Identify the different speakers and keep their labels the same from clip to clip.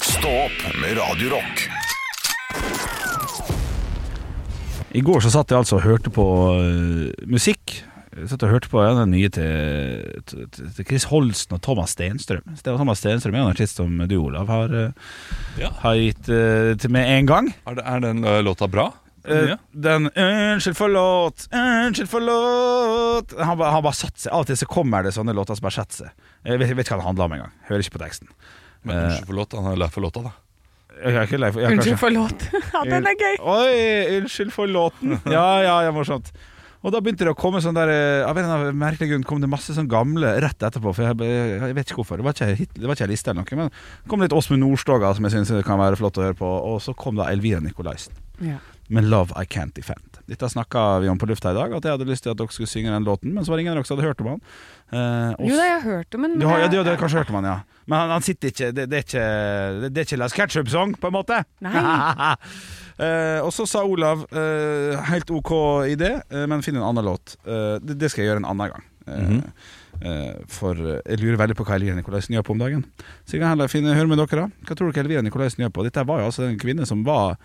Speaker 1: Stå opp med Radio Rock.
Speaker 2: I går så satt jeg altså og hørte på øh, musikk. Jeg satt og hørte på ja, den nye til, til, til Chris Holsten og Thomas Stenstrøm. Så det var Thomas Stenstrøm er en artist som du, Olav, har, øh,
Speaker 3: Ja.
Speaker 2: har gitt øh, til med en gang.
Speaker 3: Er, det, er den ø, låta bra? Den
Speaker 2: Eh,
Speaker 3: nye?
Speaker 2: Den 'Unnskyld, forlåt, unnskyld, forlåt' Han, bare- han bare satte seg. Av og til så kommer det sånne låter som bare setter seg. Jeg vet, jeg vet ikke hva det handler om engang. Hører ikke på teksten.
Speaker 3: Men unnskyld for låta, han er lei for låta, da.
Speaker 2: Jeg er ikke lei for jeg er kanskje-
Speaker 4: Unnskyld for låt. Ja, den er gøy.
Speaker 2: Oi, unnskyld for låten. Ja, ja, ja, morsomt. Og da begynte det å komme sånn der eh, Av en eller annen merkelig grunn kom det masse sånn gamle rett etterpå. For jeg, jeg vet ikke hvorfor. Det var ikke, hit, det var ikke en liste eller noe. Men det kom litt Åsmund Nordstoga, som jeg syns kan være flott å høre på. Og så kom da Elvira Nikolaisen
Speaker 4: Ja.
Speaker 2: med 'Love I Can't Defend'. Dette snakka vi om på lufta i dag, at jeg hadde lyst til at dere skulle synge den låten. Men så var det ingen av dere som hadde hørt om han. Eh, og
Speaker 4: Jo da, jeg har hørt det, men
Speaker 2: du har, ja, du, du har kanskje hørt om han, ja. Men han, han sitter ikke Det, det er ikke Det, det er ikke Las Ketchup-sang, på en måte.
Speaker 4: Nei.
Speaker 2: Eh, og så sa Olav eh, helt OK idé, eh, men finn en annen låt. Eh, det, det skal jeg gjøre en annen gang. Eh, eh, for eh, jeg lurer veldig på hva Elvira Nicolaisen gjør på om dagen. Så jeg kan heller finne, høre med dere da Hva tror dere Elvira Nicolaisen gjør på? Dette var jo altså en kvinne som var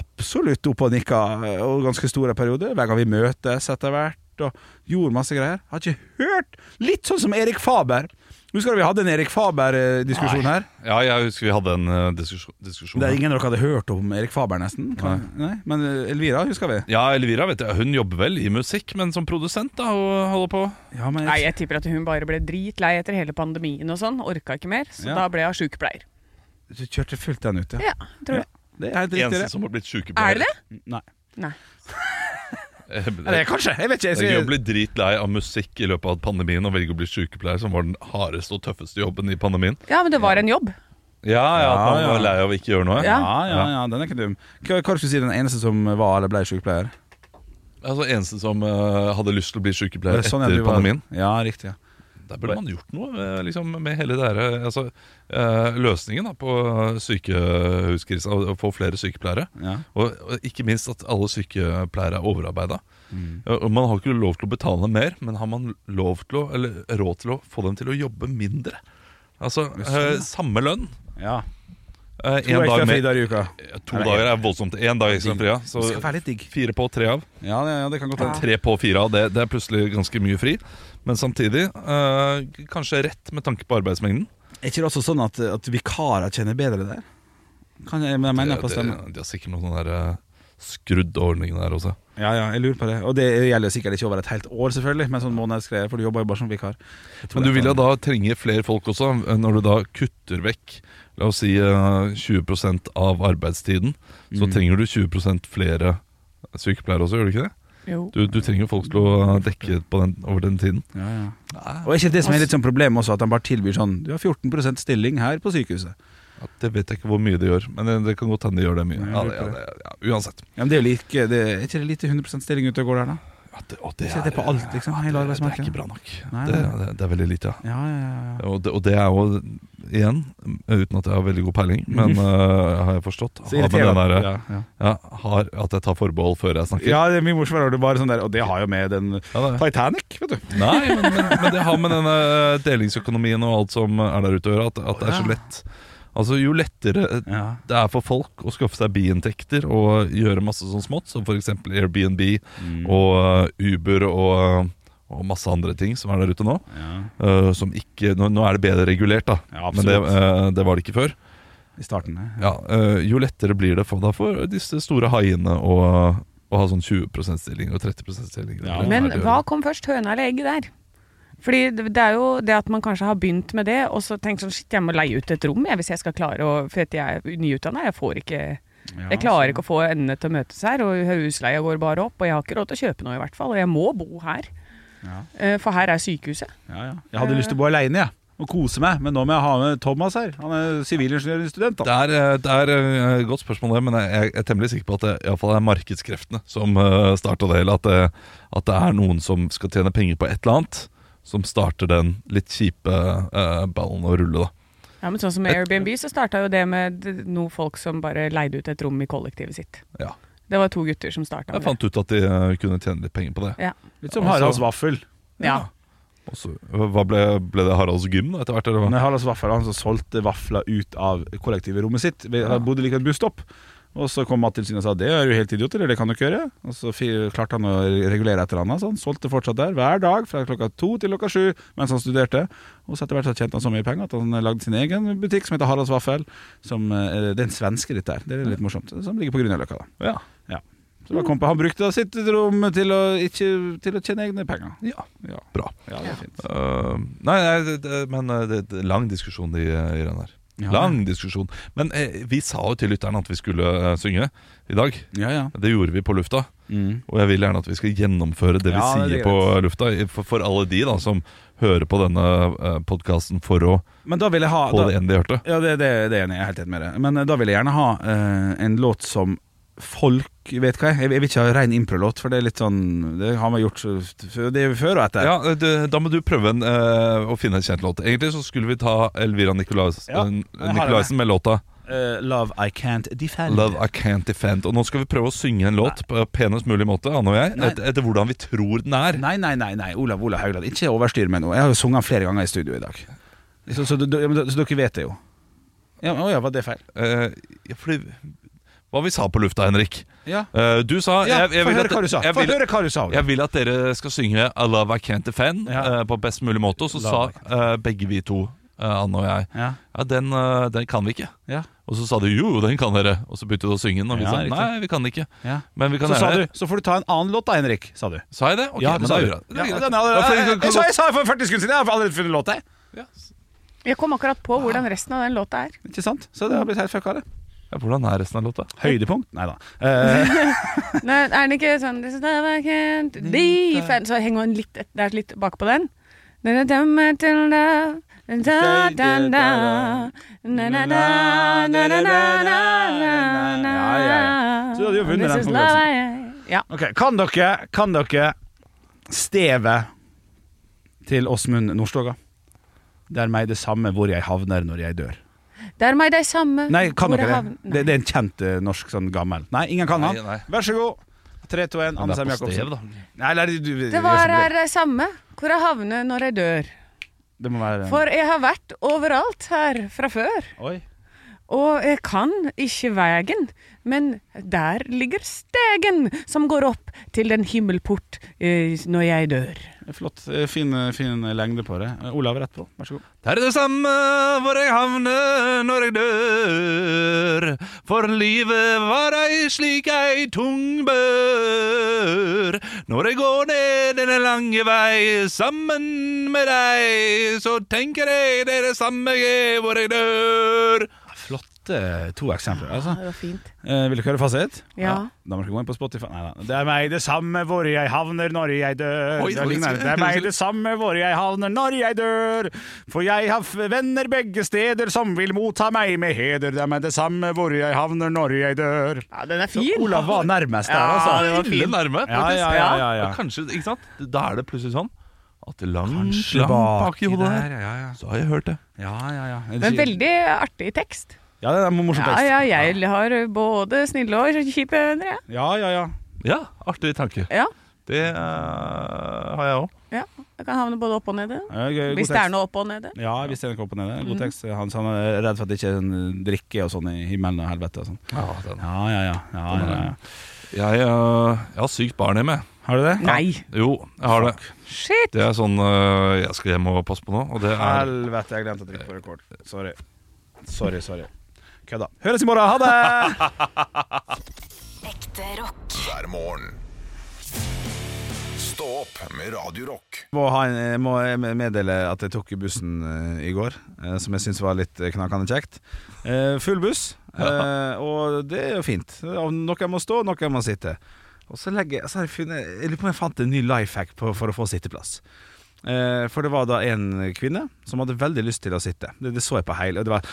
Speaker 2: absolutt oppe og nikka eh, og ganske store perioder. Hver gang vi møtes etter hvert og gjorde masse greier. Har ikke hørt! Litt sånn som Erik Faber. Husker du vi hadde en Erik Faber-diskusjon her?
Speaker 3: Ja, jeg husker vi hadde en ø, diskusjon. diskusjon
Speaker 2: Det er ingen av dere hadde hørt om Erik Faber, nesten. Kan, nei. Men eh, Elvira husker vi.
Speaker 3: Ja, Elvira vet jeg, hun jobber vel i musikk, men som produsent da, og holder på.
Speaker 2: Ja, men
Speaker 4: Nei, jeg tipper at hun bare ble dritlei etter hele pandemien og sånn. Orka ikke mer, så
Speaker 2: Ja.
Speaker 4: da ble hun sjukepleier.
Speaker 2: Du kjørte fullt den ut, ja.
Speaker 4: Ja, tror
Speaker 2: Ja. Det er helt riktig,
Speaker 3: Eneste
Speaker 2: det.
Speaker 3: som har blitt
Speaker 4: Er
Speaker 3: sjukepleier.
Speaker 4: det det?
Speaker 2: Nei.
Speaker 4: Nei.
Speaker 2: Eller kanskje. Jeg vet
Speaker 3: Det
Speaker 2: ikke.
Speaker 3: er gøy
Speaker 2: Jeg,
Speaker 3: å bli dritlei av musikk i løpet av pandemien og velge å bli sykepleier, som var den hardeste og tøffeste jobben i pandemien.
Speaker 4: Ja, men det var en jobb.
Speaker 3: Ja, ja, at man
Speaker 2: Ja,
Speaker 3: var
Speaker 2: ja.
Speaker 3: lei av å ikke gjøre noe.
Speaker 2: ja,
Speaker 4: Ja.
Speaker 2: ja, ja, den er ikke dum. Hva, hva skulle du si den eneste som var eller ble sykepleier?
Speaker 3: Altså, Eneste som eh, hadde lyst til å bli sykepleier
Speaker 2: Det er sånn jeg
Speaker 3: etter
Speaker 2: blir var-
Speaker 3: pandemien.
Speaker 2: Ja, riktig. ja
Speaker 3: Der burde man gjort noe eh, liksom, med hele det her, eh, altså, eh, løsningen da, på sykehuskrisen. Å få flere sykepleiere.
Speaker 2: Ja.
Speaker 3: Og, og ikke minst at alle sykepleiere er overarbeida.
Speaker 2: Mm.
Speaker 3: Og Man har ikke lov til å betale dem mer, men har man lov til å, eller råd til å få dem til å jobbe mindre? Altså eh, samme lønn.
Speaker 2: Ja.
Speaker 3: Eh,
Speaker 2: sånn, To
Speaker 3: en
Speaker 2: ekstra
Speaker 3: dag med,
Speaker 2: fridager i uka.
Speaker 3: eh, to dager er voldsomt. Én dag ekstra fri, ja. Så
Speaker 2: Det skal være litt digg.
Speaker 3: fire på, tre av.
Speaker 2: Ja, det, ja, det kan godt hende.
Speaker 3: Tre på fire av, det, det er plutselig ganske mye fri. Men samtidig eh, kanskje rett med tanke på arbeidsmengden.
Speaker 2: Er ikke det også sånn at, at vikarer tjener bedre der? Kan jeg, jeg mener
Speaker 3: Ja,
Speaker 2: på stemmen.
Speaker 3: det- De har sikkert noen sånne der, eh, skrudd ordning der også.
Speaker 2: Ja, ja, jeg lurer på det. Og det gjelder jo sikkert ikke over et helt år, selvfølgelig, men sånn månedsgreier, for du jobber jo bare som vikar. Jeg tror
Speaker 3: Men du
Speaker 2: jeg
Speaker 3: vil jo
Speaker 2: kan-
Speaker 3: da trenge flere folk også, eh, når du da kutter vekk La oss si eh, 20 av arbeidstiden. Så
Speaker 2: Mm.
Speaker 3: trenger du 20 flere sykepleiere også, gjør du ikke det?
Speaker 4: Jo.
Speaker 3: Du, du trenger jo folk til å eh, dekke på den, over den tiden.
Speaker 2: ja, ja. Og er ikke det som er litt sånn problem også, at de bare tilbyr sånn Du har 14 stilling her på sykehuset.
Speaker 3: Ja, det vet jeg ikke hvor mye de gjør, men det, det kan godt hende de gjør det mye.
Speaker 2: jeg
Speaker 3: Ja,
Speaker 2: lurer
Speaker 3: det, ja,
Speaker 2: på
Speaker 3: det, ja, uansett.
Speaker 2: Ja, men det Er jo like, det, er ikke det lite 100 stilling ute og går der, da?
Speaker 3: Ja, det, og det,
Speaker 2: Se
Speaker 3: er,
Speaker 2: det på alt, liksom. Hele
Speaker 3: det, det er
Speaker 2: arbeidsmarkedet.
Speaker 3: ikke bra nok.
Speaker 2: Nei,
Speaker 3: Det,
Speaker 2: nei.
Speaker 3: det, det er veldig lite, ja.
Speaker 2: Ja, ja, ja, ja.
Speaker 3: Og det, og det er jo, igjen, uten at jeg har veldig god peiling, men øh, har jeg forstått
Speaker 2: Så
Speaker 3: har med den der,
Speaker 2: irriterende.
Speaker 3: ja.
Speaker 2: Ja, ja.
Speaker 3: har, At jeg tar forbehold før jeg snakker.
Speaker 2: ja, det er mye morsommere når du bare sånn der Og det har jo med den
Speaker 3: Ja, det er-
Speaker 2: Titanic, vet du.
Speaker 3: Nei, men, men, men det har med denne delingsøkonomien og alt som er der ute å gjøre, at, at det er så lett. Altså, Jo lettere
Speaker 2: Ja.
Speaker 3: det er for folk å skaffe seg biinntekter og gjøre masse sånn smått, som f.eks. Airbnb
Speaker 2: Mm.
Speaker 3: og øh, Uber og, og masse andre ting som er der ute nå. øh, som ikke, nå, nå er det bedre regulert, da,
Speaker 2: Ja,
Speaker 3: men det, øh, det var det ikke før.
Speaker 2: I starten, ja.
Speaker 3: Ja, eh, jo lettere blir det for, da for disse store haiene å, å ha sånn 20 stilling og 30 stilling.
Speaker 2: Ja.
Speaker 4: Men hva kom først, høna eller egget der? Fordi det det er jo det at man kanskje har begynt med det, og så tenkt sånn shit, jeg må leie ut et rom jeg, hvis jeg skal klare å For at jeg er nyutdanna, jeg får ikke Jeg klarer ikke å få endene til å møtes her, og husleia går bare opp, og jeg har ikke råd til å kjøpe noe i hvert fall, og jeg må bo her.
Speaker 2: Ja.
Speaker 4: Eh, For her er sykehuset.
Speaker 2: Ja, ja. Jeg hadde lyst til å bo aleine, jeg. og kose meg. Men nå må jeg ha med Thomas her. Han er sivilingeniørstudent.
Speaker 3: Det
Speaker 2: da.
Speaker 3: er, eh, det er eh, et godt spørsmål, det, men jeg, jeg er temmelig sikker på at det i alle fall er markedskreftene som uh, starta det hele. At, det- at det er noen som skal tjene penger på et eller annet, som starter den litt kjipe eh, ballen å rulle. da
Speaker 4: Ja, men sånn som med Airbnb så starta jo det med d- noen folk som bare leide ut et rom i kollektivet sitt.
Speaker 3: Ja.
Speaker 4: Det var to gutter som starta
Speaker 3: Jeg
Speaker 4: med det.
Speaker 3: fant ut at de eh, kunne tjene litt penger på det.
Speaker 4: Ja.
Speaker 2: Litt som Haralds vaffel.
Speaker 4: Ja.
Speaker 3: Og så, hva ble, ble det Haralds gym da etter hvert? Eller hva?
Speaker 2: Nei, Haralds vaffel han som solgte vafler ut av kollektivrommet sitt. Vi han bodde like ved et busstopp. Og så kom Mattilsynet og sa det er jo helt idioter, det kan du ikke gjøre. Og så fi- klarte han å regulere et eller annet, så han solgte fortsatt der hver dag fra klokka to til klokka sju mens han studerte. Og så etter hvert så tjente han så mye penger at han lagde sin egen butikk som heter Haralds Vaffel. Som, eh, det er en svenske, dette her. Det er litt morsomt. Som ligger på Grünerløkka, da.
Speaker 3: Ja.
Speaker 2: Så da kom på, han brukte da sitt rom til å, ikke, til å tjene egne penger.
Speaker 3: Ja.
Speaker 2: Ja,
Speaker 3: Bra.
Speaker 2: ja det er fint.
Speaker 3: Eh, nei, nei det, det, men eh, det, det, lang diskusjon i, i den her.
Speaker 2: Ja.
Speaker 3: Lang diskusjon. Men eh, vi sa jo til lytterne at vi skulle eh, synge i dag.
Speaker 2: Ja, ja.
Speaker 3: Det gjorde vi på lufta.
Speaker 2: Mm.
Speaker 3: Og jeg vil gjerne at vi skal gjennomføre det vi
Speaker 2: Ja, det er
Speaker 3: sier på lufta. i- For, for alle de da som hører på denne uh, podkasten for å
Speaker 2: Men da vil jeg ha
Speaker 3: få
Speaker 2: da,
Speaker 3: det ene de hørte.
Speaker 2: Ja, det, det, det er jeg enig i. Jeg er helt enig med det. Men eh, da vil jeg gjerne ha eh, en låt som folk vet hva er. Jeg, jeg vil ikke ha rein impro-låt, for det er litt sånn Det har man gjort så- f- Det er jo før og etter.
Speaker 3: Ja, eh, du, Da må du prøve en, eh, å finne en kjent låt. Egentlig så skulle vi ta Elvira Nicolais,
Speaker 2: Ja,
Speaker 3: eh,
Speaker 2: har
Speaker 3: Nicolaisen med låta
Speaker 2: Eh, 'Love I Can't Defend'.
Speaker 3: 'Love I Can't Defend'. Og nå skal vi prøve å synge en låt på penest mulig måte, Anne og jeg,
Speaker 2: Nei.
Speaker 3: etter, etter hvordan vi tror den er.
Speaker 2: Nei, nei, nei, nei. Olav Olav Haugland, ikke overstyr meg nå. Jeg har jo sunget den flere ganger i studio i dag. Så, så, du- du- ja, men da- så dere vet det jo. Ja, men- Å ja, var det feil?
Speaker 3: Eh, ja, fordi, hva vi sa på lufta, Henrik?
Speaker 2: Ja.
Speaker 3: Eh, du sa
Speaker 2: ja
Speaker 3: jeg, jeg
Speaker 2: Få
Speaker 3: vil
Speaker 2: høre
Speaker 3: at-
Speaker 2: hva du sa.
Speaker 3: Jeg
Speaker 2: Få
Speaker 3: vil,
Speaker 2: høre hva du sa. Olav.
Speaker 3: jeg vil at dere skal synge 'I Love I Can't Defend'
Speaker 2: Ja.
Speaker 3: eh, på best mulig måte. Og så
Speaker 2: Love
Speaker 3: sa eh, begge vi to, eh, Anne og jeg,
Speaker 2: Ja.
Speaker 3: ja, den, eh, den kan vi ikke.
Speaker 2: Ja.
Speaker 3: Og så sa du jo, den kan dere. Og så begynte du å synge den, og vi
Speaker 2: Ja,
Speaker 3: sa
Speaker 2: riktig.
Speaker 3: nei, vi kan ikke.
Speaker 2: Ja.
Speaker 3: Men vi kan
Speaker 2: Så sa
Speaker 3: gjerne
Speaker 2: du Så får du ta en annen låt da, Henrik, sa du.
Speaker 3: Sa jeg det? Ok,
Speaker 2: Ja,
Speaker 3: men
Speaker 2: sa
Speaker 3: da
Speaker 2: du.
Speaker 3: gjør jeg det.
Speaker 2: Ja,
Speaker 3: Det er greit.
Speaker 2: den hadde-
Speaker 3: Da får
Speaker 2: jeg,
Speaker 3: jeg-
Speaker 2: jeg, jeg, sa- jeg sa det for 40 sekunder siden, jeg har allerede funnet låta. jeg.
Speaker 3: Ja.
Speaker 4: Jeg kom akkurat på hvordan resten av den låta er.
Speaker 2: Ikke sant? Så det har blitt helt fucka, det.
Speaker 3: Ja, hvordan er resten av låta?
Speaker 2: Høydepunkt? Nei da. Eh,
Speaker 4: Nei, er den ikke sånn This is love I can't defend Så henger den litt, det er litt bakpå den. Da, da, da, da, da, da, da, da, na, na, na, na, na, na, na, na.
Speaker 2: Ja, ja, ja. Så du hadde jo vunnet den
Speaker 4: This is love I- Ja.
Speaker 2: ok, Kan dere, kan dere stevet til Åsmund Nordstoga? Det er meg det samme hvor jeg havner når jeg dør.
Speaker 4: Det er meg de samme
Speaker 2: Nei, kan
Speaker 4: hvor
Speaker 2: dere
Speaker 4: jeg
Speaker 2: det?
Speaker 4: havn-
Speaker 2: Det, det er en kjent eh, norsk sånn gammel. Nei, ingen kan
Speaker 3: Nei,
Speaker 2: han.
Speaker 3: nei.
Speaker 2: Vær så god. 3, 2, 1, Anne Sem Jacobsen. Nei, nei, du- du-
Speaker 4: Det var her de samme hvor jeg havner når jeg dør.
Speaker 2: Det må være
Speaker 4: For jeg har vært overalt her fra før.
Speaker 2: Oi.
Speaker 4: Og jeg kan ikke vegen, men der ligger stegen som går opp til den himmelport eh, når jeg dør.
Speaker 2: Flott. eh, Fin, eh, fin lengde på det. Eh, Olav, rett på. Vær så god.
Speaker 3: Det er det samme hvor jeg havner når jeg dør. For livet var ei slik ei tung bør. Når jeg går ned denne lange vei sammen med deg, så tenker jeg det er det samme jeg er hvor jeg dør.
Speaker 2: Flotte to eksempler, altså.
Speaker 4: det var fint.
Speaker 2: Eh, vil dere høre fasit?
Speaker 4: Ja.
Speaker 2: Da må dere gå inn på Spotify. Nei, da. Det er meg det samme hvor jeg havner når jeg dør.
Speaker 3: Oi,
Speaker 2: det,
Speaker 3: oi,
Speaker 2: ligner.
Speaker 3: skal-
Speaker 2: det er meg det samme hvor jeg havner når jeg dør. For jeg har f- venner begge steder som vil motta meg med heder. Det er meg det samme hvor jeg havner når jeg dør.
Speaker 4: Ja, den er
Speaker 2: Så Olav var nærmest der, altså.
Speaker 3: Ja, det var fint. nærme,
Speaker 2: Ja,
Speaker 3: faktisk.
Speaker 2: ja, ja, ja, ja.
Speaker 3: Og Kanskje, ikke sant? Da er det plutselig sånn at langt,
Speaker 2: Kanskje
Speaker 3: langt bak
Speaker 2: baki
Speaker 3: i hodet
Speaker 2: der,
Speaker 3: der,
Speaker 2: ja, ja.
Speaker 3: så har jeg hørt det.
Speaker 2: Ja, ja, ja.
Speaker 4: Men veldig artig tekst.
Speaker 2: Ja, det er en morsom
Speaker 4: Ja,
Speaker 2: tekst.
Speaker 4: ja, jeg har både snille og kjipe venner, jeg.
Speaker 2: Ja, ja, ja.
Speaker 3: Ja, artig tanke.
Speaker 4: Ja.
Speaker 3: Det eh, har jeg òg.
Speaker 4: ja. Jeg kan havne både opp og nede.
Speaker 2: Ja, gøy, god
Speaker 4: Hvis det
Speaker 2: tekst.
Speaker 4: er noe Mm. opp og nede.
Speaker 2: Ja, hvis det er noe opp og nede. God tekst. Han, han er redd for at det ikke er en drikke og sånn i himmelen og helvete og sånn. Ja, ja, ja. ja, ja, ja.
Speaker 3: Jeg, eh, jeg har sykt barn hjemme.
Speaker 2: Har du det?
Speaker 4: Nei!
Speaker 3: Jo, jeg har det.
Speaker 4: Shit!
Speaker 3: Det er sånn eh, jeg skal hjem og passe på nå. Og det er
Speaker 2: Helvete, jeg glemte å trykke på rekord. Sorry. Sorry, sorry. Kødda. Høres i morgen. Ha det!
Speaker 5: Ekte rock.
Speaker 1: hver morgen. Stå opp med Radio Rock.
Speaker 2: Må, ha en, jeg må meddele at jeg tok bussen eh, i går, eh, som jeg syns var litt eh, knakende kjekt. Eh, full buss, eh, og det er jo fint. Og Noen må stå, noen må sitte. Og så legger jeg, så har jeg funnet Jeg lurer på om jeg fant en ny life hack på, for å få sitteplass. Eh, For det var da en kvinne som hadde veldig lyst til å sitte. Det, det så jeg på heil, og det var,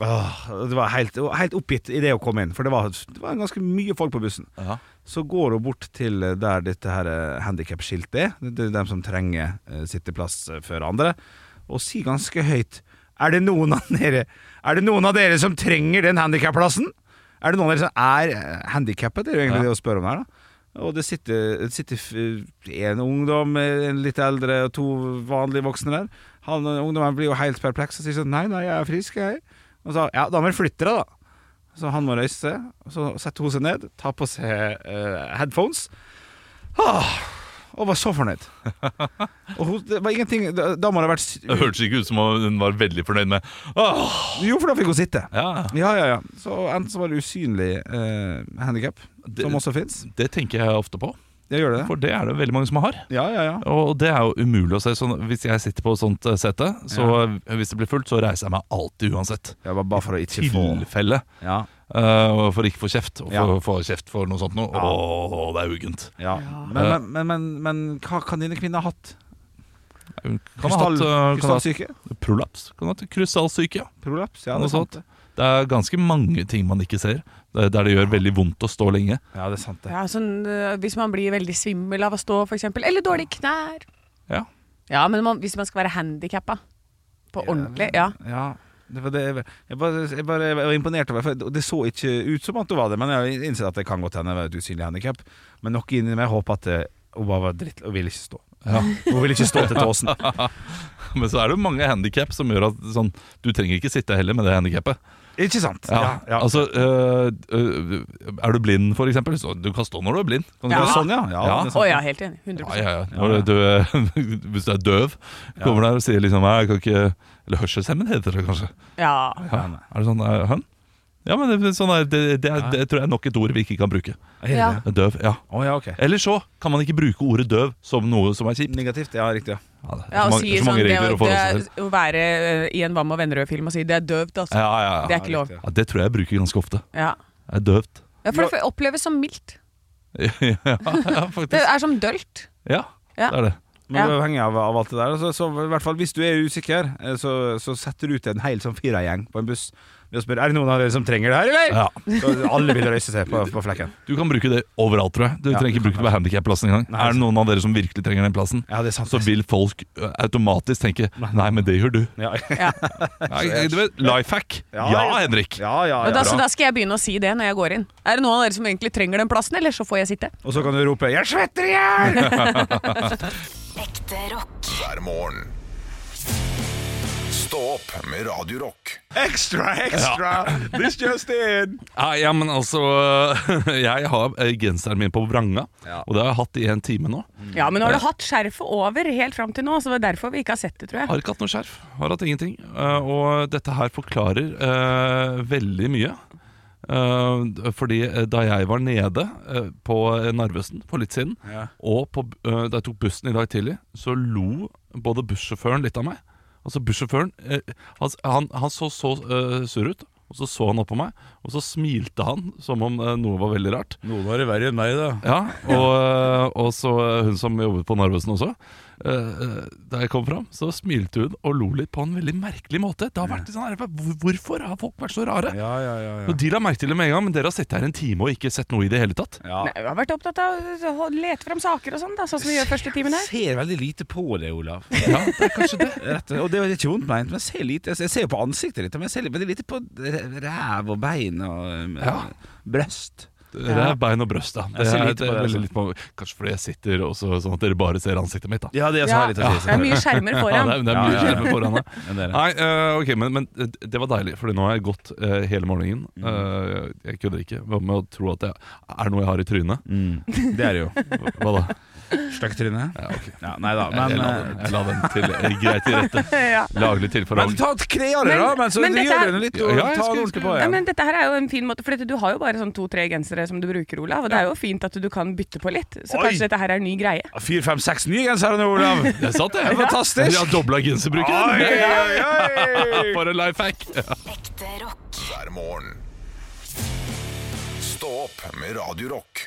Speaker 2: Åh, og det var helt, og helt oppgitt i det å komme inn, for det var, det var ganske mye folk på bussen.
Speaker 3: Ja.
Speaker 2: Så går hun bort til eh, der dette her handikapskiltet er, det er dem som trenger eh, sitteplass eh, før andre, og sier ganske høyt er det, noen av dere, er det noen av dere som trenger den handikapplassen? Er det noen av dere som er eh, handikappet? Det er jo egentlig det å spørre om her, da. Og det sitter, det sitter f- en ungdom, eh, en litt eldre og to vanlige voksne der. Han eh, Ungdommen blir jo helt perpleks og sier sånn Nei, nei, jeg er frisk, jeg. Og så, ja, da må du flytte deg, da. Så han må reise seg, og så setter hun seg ned, tar på seg eh, headphones. Ah, og var så fornøyd. Og hun, det var ingenting Da, da må det ha vært s-
Speaker 3: Det hørtes ikke ut som om hun var veldig fornøyd med Åh,
Speaker 2: Jo, for da fikk hun sitte.
Speaker 3: ja.
Speaker 2: Ja, ja, ja. Så enten så var det usynlig eh, handikap,
Speaker 3: Det-
Speaker 2: som også fins.
Speaker 3: Det tenker jeg ofte på,
Speaker 2: Ja, gjør det det?
Speaker 3: for det er det veldig mange som har.
Speaker 2: Ja, ja, ja.
Speaker 3: Og det er jo umulig å se. Sånn, hvis jeg sitter på et sånt eh, sete, så eh, hvis det blir fullt, så reiser jeg meg alltid uansett.
Speaker 2: Ja, bare, bare for å ikke få
Speaker 3: Tilfelle.
Speaker 2: Ja,
Speaker 3: eh, og for ikke å få kjeft. Og
Speaker 2: Ja.
Speaker 3: for å få kjeft for noe sånt noe. Åh, det er uggent.
Speaker 2: ja. Men,
Speaker 3: Eh.
Speaker 2: men, men, men, men hva kan dine kvinner ha hatt?
Speaker 3: Hun Kan ha
Speaker 2: Krystall,
Speaker 3: hatt, eh, kan ha
Speaker 2: krystallsyke?
Speaker 3: hatt prolaps. Kan ha hatt krystallsyke. ja.
Speaker 2: Prolaps? Ja,
Speaker 3: Noe
Speaker 2: det er sant.
Speaker 3: sånt. Det er ganske mange ting man ikke ser, eh, der det gjør veldig vondt å stå lenge.
Speaker 2: Ja, det er sant det.
Speaker 4: Ja, sånn, øh, hvis man blir veldig svimmel av å stå, for eksempel. Eller dårlige knær.
Speaker 3: Ja.
Speaker 4: Ja, men man, hvis man skal være handikappa på ordentlig, ja.
Speaker 2: Ja, det var det jeg, jeg, bare, jeg, bare, jeg var imponert over for Det så ikke ut som at hun var det, men jeg innser at det kan godt hende det var et usynlig handikap. Men noe inni meg håper at eh, hun bare var dritt og ville ikke stå.
Speaker 3: Ja.
Speaker 2: Hun ville ikke stå til tåsen.
Speaker 3: Men så er det jo mange handikap som gjør at sånn, du trenger ikke sitte heller med det handikappet.
Speaker 2: Ikke sant? Ja, ja.
Speaker 3: Altså, øh, øh, er du blind, for eksempel? Så du kan stå når du er blind. Kan du
Speaker 2: Det
Speaker 3: ikke
Speaker 2: var
Speaker 3: det?
Speaker 2: Sånn, ja. ja,
Speaker 3: Ja.
Speaker 2: det er
Speaker 4: Å
Speaker 2: sant.
Speaker 4: ja, helt enig. 100
Speaker 3: Ja, ja, ja. Når du, er- hvis du er døv, kommer der og sier liksom «Nei, jeg kan ikke, Eller hørselshemmen heter det kanskje.
Speaker 4: Ja.
Speaker 3: Ja. Er det sånn øh, «Hæ?» Ja, men det, sånn er, det, det, er, det tror jeg er nok et ord vi ikke kan bruke.
Speaker 2: Er det
Speaker 4: Ja.
Speaker 2: det?
Speaker 3: Døv, ja.
Speaker 2: Å ja, ok.
Speaker 3: Eller så kan man ikke bruke ordet døv som noe som er kjipt.
Speaker 2: Negativt, ja, riktig. Ja.
Speaker 3: Ja, det er
Speaker 4: Ja,
Speaker 3: så
Speaker 4: og
Speaker 3: mange,
Speaker 4: si
Speaker 3: så
Speaker 4: sånn,
Speaker 3: mange
Speaker 4: det,
Speaker 3: regler
Speaker 4: å-
Speaker 3: å forholde seg
Speaker 4: det,
Speaker 3: til.
Speaker 4: å være øh, i en Hva med vennerød-film og si 'det er døvt', altså.
Speaker 3: Ja, ja,
Speaker 4: Det
Speaker 3: ja.
Speaker 4: er ikke lov.
Speaker 2: riktig,
Speaker 3: ja. Det tror jeg jeg bruker ganske ofte.
Speaker 4: Ja.
Speaker 3: Det er døvt.
Speaker 4: ja, For det oppleves som mildt.
Speaker 3: ja, ja,
Speaker 4: Det
Speaker 3: faktisk.
Speaker 4: er som dølt.
Speaker 3: Ja,
Speaker 4: Ja.
Speaker 3: det er det.
Speaker 2: Men
Speaker 4: Ja.
Speaker 2: avhengig av, av alt det der, så, så i hvert fall hvis du er usikker, eh, så, så setter du ut en hel sånn firergjeng på en buss ved å spørre Er det noen av dere som trenger det her, eller?
Speaker 3: Ja.
Speaker 2: Så alle vil reise seg på, på flekken.
Speaker 3: Du kan bruke det overalt, tror jeg. Du
Speaker 2: Ja,
Speaker 3: trenger
Speaker 2: du
Speaker 3: ikke bruke det på handikapplassen engang.
Speaker 2: Nei,
Speaker 3: Er det noen av dere som virkelig trenger den plassen,
Speaker 2: Ja, det er sant.
Speaker 3: så vil folk ø, automatisk tenke Nei, men det gjør du.
Speaker 2: ja.
Speaker 4: Ja.
Speaker 3: Nei, du vet, Life hack. Ja,
Speaker 2: Ja, ja.
Speaker 3: Henrik.
Speaker 2: Ja, ja, ja.
Speaker 4: Og da, så da skal jeg begynne å si det når jeg går inn. Er det noen av dere som egentlig trenger den plassen, eller så får jeg sitte?
Speaker 2: Og så kan du rope 'Jeg svetter i hjel!'
Speaker 5: Ekte rock.
Speaker 1: hver morgen. Stå opp med Radio Rock.
Speaker 2: Extra, extra! This just in!
Speaker 3: Ja, ja, men altså Jeg har ø, genseren min på vranga,
Speaker 2: Ja.
Speaker 3: og det har jeg hatt i en time nå.
Speaker 4: Ja, men nå har du hatt skjerfet over helt fram til nå, så det er derfor vi ikke har sett det, tror jeg.
Speaker 3: Har ikke hatt noe skjerf. Har hatt ingenting. Eh, og dette her forklarer eh, veldig mye. Eh, fordi eh, da jeg var nede eh, på Narvesen for litt siden,
Speaker 2: Ja.
Speaker 3: og på, eh, da jeg tok bussen i dag tidlig, så lo både bussjåføren litt av meg. Altså bussjåføren eh, han, han, han så så eh, sur ut, og så så han opp på meg, og så smilte han som om eh, noe var veldig rart.
Speaker 2: Noen har det verre enn meg, da.
Speaker 3: Ja, og, eh, og så hun som jobbet på Narvesen også. eh, Da jeg kom fram, så smilte hun og lo litt på en veldig merkelig måte. Det har vært litt sånn her, hvor- Hvorfor har folk vært så rare?
Speaker 2: Ja, ja, ja.
Speaker 3: Og De la merke til det med en gang, men dere har sittet her en time og ikke sett noe i det hele tatt.
Speaker 2: ja.
Speaker 4: Nei, vi har vært opptatt av å lete fram saker og sånn, da, sånn som vi gjør første timen her.
Speaker 2: Ser veldig lite på det, Olav.
Speaker 3: Ja, det er kanskje det.
Speaker 2: Rett, og det er ikke vondt meint, men jeg ser, lite, jeg ser jo på ansiktet ditt. Men jeg ser litt- veldig lite på r- ræv og bein og um,
Speaker 3: Ja.
Speaker 2: bryst.
Speaker 3: Det er bein og brøst, da. Det
Speaker 2: Jeg ser
Speaker 3: er,
Speaker 2: lite altså.
Speaker 3: det
Speaker 2: på
Speaker 3: er
Speaker 2: det,
Speaker 3: veldig litt på, kanskje fordi jeg sitter også sånn at dere bare ser ansiktet mitt, da.
Speaker 2: Ja, det er
Speaker 4: Ja,
Speaker 2: jeg
Speaker 4: det
Speaker 2: som har litt å si.
Speaker 4: er mye skjermer
Speaker 3: Ja,
Speaker 4: foran.
Speaker 3: det er, det er
Speaker 2: Ja,
Speaker 3: mye
Speaker 2: ja, ja.
Speaker 3: skjermer foran deg.
Speaker 2: Ja, det er det.
Speaker 3: Nei, eh, ok, men, men det var deilig, Fordi nå har jeg gått eh, hele morgenen.
Speaker 2: Mm.
Speaker 3: Eh, jeg kødder ikke Hva med å tro at det er noe jeg har i trynet.
Speaker 2: Mm. Det er det jo.
Speaker 3: Hva da?
Speaker 2: Støkk tryne.
Speaker 3: Ja, ok.
Speaker 2: Ja, nei da,
Speaker 3: jeg,
Speaker 2: men
Speaker 3: la den, jeg la den til eh, greit til rette.
Speaker 4: Ja.
Speaker 3: Laglig til for
Speaker 2: Men
Speaker 3: laglig.
Speaker 2: ta et kne av det, da! Men så
Speaker 4: men dette
Speaker 2: gjør
Speaker 4: er-
Speaker 2: du det litt,
Speaker 3: Ja,
Speaker 2: og
Speaker 3: ja, jeg
Speaker 2: ta
Speaker 3: skulle-
Speaker 2: det ordentlig på
Speaker 4: Ja,
Speaker 2: igjen.
Speaker 4: men dette her er jo en fin måte, for dette, du har jo bare sånn to-tre gensere som du bruker, Olav. Og det er jo fint at du kan bytte på litt, så
Speaker 2: Oi.
Speaker 4: kanskje dette her er en ny greie.
Speaker 2: Fire, fem, seks nye gensere nå, Olav!
Speaker 3: Det er sant, det.
Speaker 2: Det er fantastisk.
Speaker 3: Jeg har dobla genserbruken.
Speaker 2: oi, oi!
Speaker 3: For en life hack. Ja.
Speaker 5: Ekte rock.
Speaker 1: hver morgen. Stå opp med Radio Rock.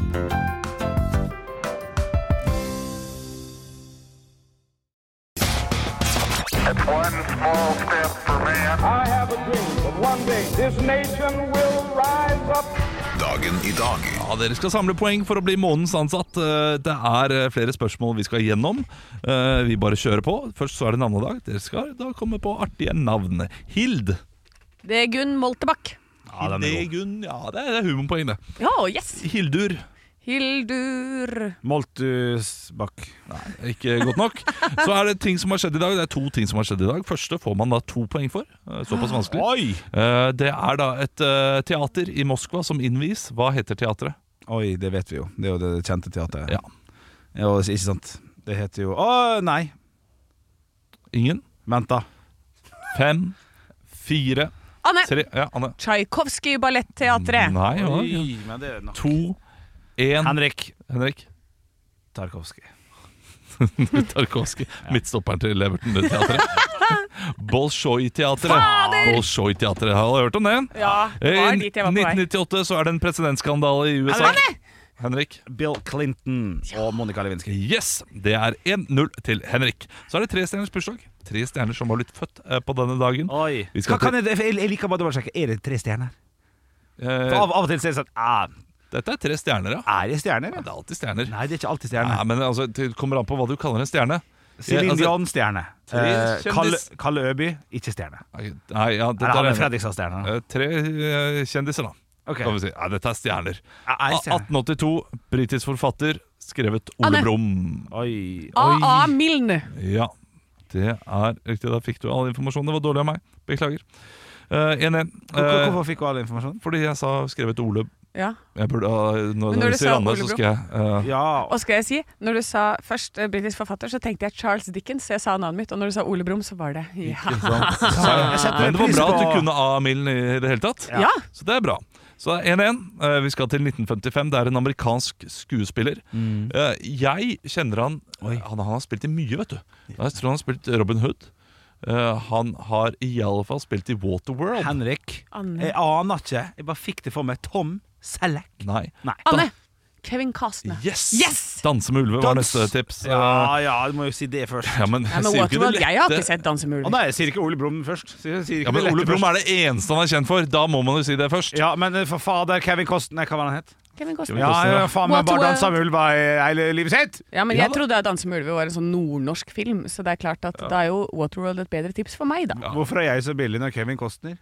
Speaker 6: I have a dream that one day this nation will rise up.
Speaker 1: Dagen i dag
Speaker 3: Ja, Dere skal samle poeng for å bli månedens ansatt. Eh, Det er eh, flere spørsmål vi skal gjennom. Eh, Vi bare kjører på. Først så er det navnedag. Dere skal da komme på artige navn. Hild.
Speaker 4: Det er Gunn Moltebakk.
Speaker 3: Ja, Hidegun. Ja, det er det er humorpoeng, det.
Speaker 4: Ja, yes!
Speaker 3: Hildur.
Speaker 4: Hildur
Speaker 2: Moltusbakk.
Speaker 3: Ikke godt nok. Så er det ting som har skjedd i dag. Det er to ting som har skjedd i dag. Første får man da to poeng for. Eh, Såpass vanskelig.
Speaker 2: Oi!
Speaker 3: Eh, Det er da et eh, teater i Moskva som innvies. Hva heter teatret?
Speaker 2: Oi, det vet vi jo. Det er jo det kjente teateret.
Speaker 3: Ja.
Speaker 2: Ja, ikke sant? Det heter jo Å, nei!
Speaker 3: Ingen?
Speaker 2: Vent, da.
Speaker 3: Fem? Fire?
Speaker 4: Anne!
Speaker 3: Tre? Ja, Anne.
Speaker 4: Tsjajkovskij Balletteatret.
Speaker 3: Nei, ja.
Speaker 2: Oi, men det er nok.
Speaker 3: To, én
Speaker 2: Henrik
Speaker 3: Henrik.
Speaker 2: Tarkovskij.
Speaker 3: Tarkovskij. Midtstopperen til Everton-teatret. Bolsjoj-teatret. Bolsjoj-teatret, Har du hørt om det?
Speaker 4: Ja, det
Speaker 3: Eh,
Speaker 4: var
Speaker 3: I
Speaker 4: dit jeg var på vei.
Speaker 3: 1998 så er det en presidentskandale i USA. Henrik.
Speaker 2: Bill Clinton og Monica Lewinsky.
Speaker 3: Yes, Det er 1-0 til Henrik. Så er det tre stjerners bursdag. Tre stjerner som har blitt født eh, på denne dagen.
Speaker 2: Oi.
Speaker 3: Vi skal
Speaker 2: Hva kan jeg, jeg jeg liker bare å bare sjekke. Er det tre stjerner? For
Speaker 3: Eh,
Speaker 2: av, av og til så er det sånn ah,
Speaker 3: dette er tre stjerner, ja.
Speaker 2: Er det stjerner?
Speaker 3: Det
Speaker 2: Ja?
Speaker 3: er alltid stjerner.
Speaker 2: Nei, det er ikke alltid
Speaker 3: Nei,
Speaker 2: stjerner.
Speaker 3: men altså, Det kommer an på hva du kaller en stjerne.
Speaker 2: Céline
Speaker 3: altså-
Speaker 2: Dion-stjerne. Eh,
Speaker 3: kjendis-
Speaker 2: Kalle, Kalle Øby, ikke stjerne.
Speaker 3: Nei, ja, dette
Speaker 2: Eller Hanne
Speaker 3: er-
Speaker 2: Fredrikstad-stjerne. da.
Speaker 3: Eh, Tre eh, kjendiser, da.
Speaker 2: Ok.
Speaker 3: Kan vi si. Nei, dette er stjerner.
Speaker 2: Er det stjerner?
Speaker 3: 1882, britisk forfatter, skrevet Ole
Speaker 4: Anne.
Speaker 3: Brumm.
Speaker 2: Oi.
Speaker 4: A.A. Milne.
Speaker 3: Ja, det er riktig. Da fikk du all informasjonen. Det var dårlig av meg. Beklager. Eh, 1-1.
Speaker 2: Hvor- hvor-
Speaker 3: Eh,
Speaker 2: Hvorfor fikk hun all informasjonen?
Speaker 3: fordi jeg sa skrevet Ole
Speaker 4: Ja.
Speaker 3: jeg burde, ha- Når,
Speaker 4: Men når
Speaker 3: når
Speaker 4: du
Speaker 3: du sier
Speaker 4: sa
Speaker 3: Anne,
Speaker 4: Ole
Speaker 3: så
Speaker 4: Brumm-
Speaker 3: skal jeg eh,
Speaker 2: Ja,
Speaker 4: Og skal jeg si, når du sa først eh, britisk forfatter, så tenkte jeg Charles Dickens, så jeg sa navnet mitt. Og når du sa Ole Brumm, så var det Ja!
Speaker 3: ikke sant?
Speaker 2: jeg setter
Speaker 3: Men det var
Speaker 2: pris
Speaker 3: bra at
Speaker 2: på-
Speaker 3: du kunne A-milen i det hele tatt.
Speaker 4: ja.
Speaker 3: Så det er bra. Så det er 1-1. Eh, Vi skal til 1955. Det er en amerikansk skuespiller.
Speaker 2: Mm.
Speaker 3: Eh, Jeg kjenner han han, han har spilt i mye, vet du. Jeg tror han har spilt Robin Hood. Eh, Han har i alle fall spilt i Waterworld.
Speaker 2: Henrik.
Speaker 4: Anne.
Speaker 2: Jeg aner ikke. Jeg bare fikk det for meg. Tom Selleck.
Speaker 3: Nei.
Speaker 4: Anne! Kevin Costner.
Speaker 3: Yes!
Speaker 4: Yes!
Speaker 3: 'Danse med ulve' var
Speaker 2: Dans.
Speaker 3: neste tips. Eh,
Speaker 2: Ja, ja, du må jo si det først.
Speaker 3: ja, men,
Speaker 4: Nei, men
Speaker 3: sier jo ikke det
Speaker 4: Waterworld, jeg har
Speaker 3: lette.
Speaker 4: ikke sett Danse med
Speaker 2: Å
Speaker 4: ulv.
Speaker 2: nei, jeg sier ikke Ole Brumm først. Sier, sier ikke
Speaker 3: Ja, men
Speaker 2: det lette
Speaker 3: Ole Brumm
Speaker 2: først.
Speaker 3: er det eneste han er kjent for. Da må man jo si det først.
Speaker 2: Ja, men eh, for fader, Kevin Costner, hva var han het?
Speaker 4: Kevin Costner.
Speaker 2: Ja,
Speaker 3: Costner, ja.
Speaker 2: ja, faen meg bare
Speaker 4: Waterworld.
Speaker 2: dansa med ulva i hele livet sitt!
Speaker 4: Ja, men
Speaker 3: Ja
Speaker 4: jeg
Speaker 3: da.
Speaker 4: trodde at Danse med ulver var en sånn nordnorsk film, så det er klart at da er jo Waterworld et bedre tips for meg, da.
Speaker 2: Hvorfor er jeg så billig når Kevin Costner?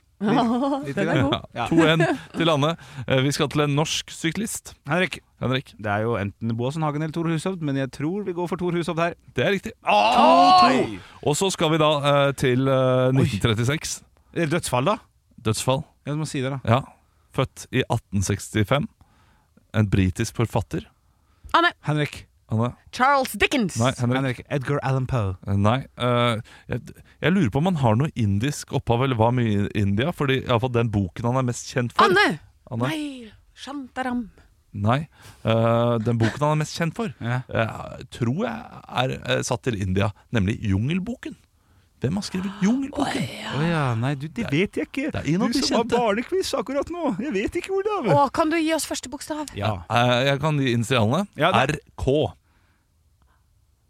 Speaker 4: Den er god.
Speaker 2: Ja.
Speaker 3: 2-1 til Anne. Eh, Vi skal til en norsk syklist.
Speaker 2: Henrik,
Speaker 3: Henrik.
Speaker 2: det er jo enten Boasen Hagen eller Tor Hushovd, men jeg tror vi går for Tor Hushovd her.
Speaker 3: Det er riktig. Ah!
Speaker 2: Oi!
Speaker 3: Og så skal vi da eh, til eh, 1936.
Speaker 2: Er det dødsfall, da?
Speaker 3: Dødsfall.
Speaker 2: Jeg må si det, da.
Speaker 3: Ja. Født i 1865. En britisk forfatter.
Speaker 4: Anne!
Speaker 2: Henrik.
Speaker 3: Anne?
Speaker 4: Charles Dickens!
Speaker 3: Nei, Henrik.
Speaker 2: Henrik. Edgar Allan Poe.
Speaker 3: Nei. eh, jeg, jeg lurer på om han har noe indisk opphav, eller var mye i India. Fordi iallfall den boken han er mest kjent for
Speaker 4: Anne!
Speaker 3: Anne?
Speaker 4: Nei! Shantaram.
Speaker 3: Nei. Eh, den boken han er mest kjent for,
Speaker 2: Ja.
Speaker 3: eh, tror jeg er eh, satt til India, nemlig Jungelboken. Hvem har skrevet Jungelboken?
Speaker 2: Å ja, nei, du, det vet jeg ikke.
Speaker 3: Det er en av de kjente.
Speaker 2: barnequiz akkurat nå. Jeg vet ikke, Olav.
Speaker 4: Å, kan du gi oss første bokstav?
Speaker 2: Ja.
Speaker 3: Eh, jeg kan gi initialene.
Speaker 2: Ja, det-
Speaker 3: RK.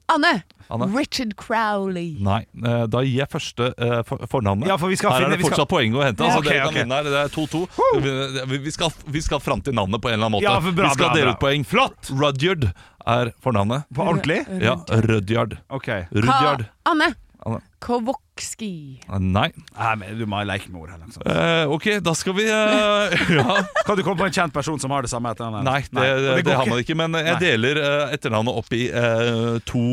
Speaker 4: Anne!
Speaker 3: Anne?
Speaker 4: Richard Crowley.
Speaker 3: Nei, eh, da gir jeg første eh, for- fornavnet.
Speaker 2: Ja, for vi skal
Speaker 3: her
Speaker 2: finne-
Speaker 3: er det
Speaker 2: vi skal-
Speaker 3: fortsatt poeng å hente. Altså,
Speaker 2: Ja, ok,
Speaker 3: dere kan
Speaker 2: ok.
Speaker 3: vinne her, det er 2-2. Vi, vi, skal- vi skal fram til navnet på en eller annen måte.
Speaker 2: Ja, for bra,
Speaker 3: vi skal
Speaker 2: bra,
Speaker 3: dele
Speaker 2: bra.
Speaker 3: ut poeng. Flott! Rudyard er fornavnet.
Speaker 2: På ordentlig?
Speaker 3: Ja, Rudyard.
Speaker 2: Ok.
Speaker 3: Rudyard.
Speaker 4: Ka Anne!
Speaker 3: Anne.
Speaker 4: Kovokski.
Speaker 3: Nei.
Speaker 2: Nei, men du må leke med ord her. Liksom.
Speaker 3: Eh, ok, da skal vi eh, Ja.
Speaker 2: Kan du komme på en kjent person som har det samme etternavnet?
Speaker 3: Nei, det, det,
Speaker 2: Og
Speaker 3: det, har man ikke. Men jeg
Speaker 2: Nei.
Speaker 3: deler eh, etternavnet opp i eh, to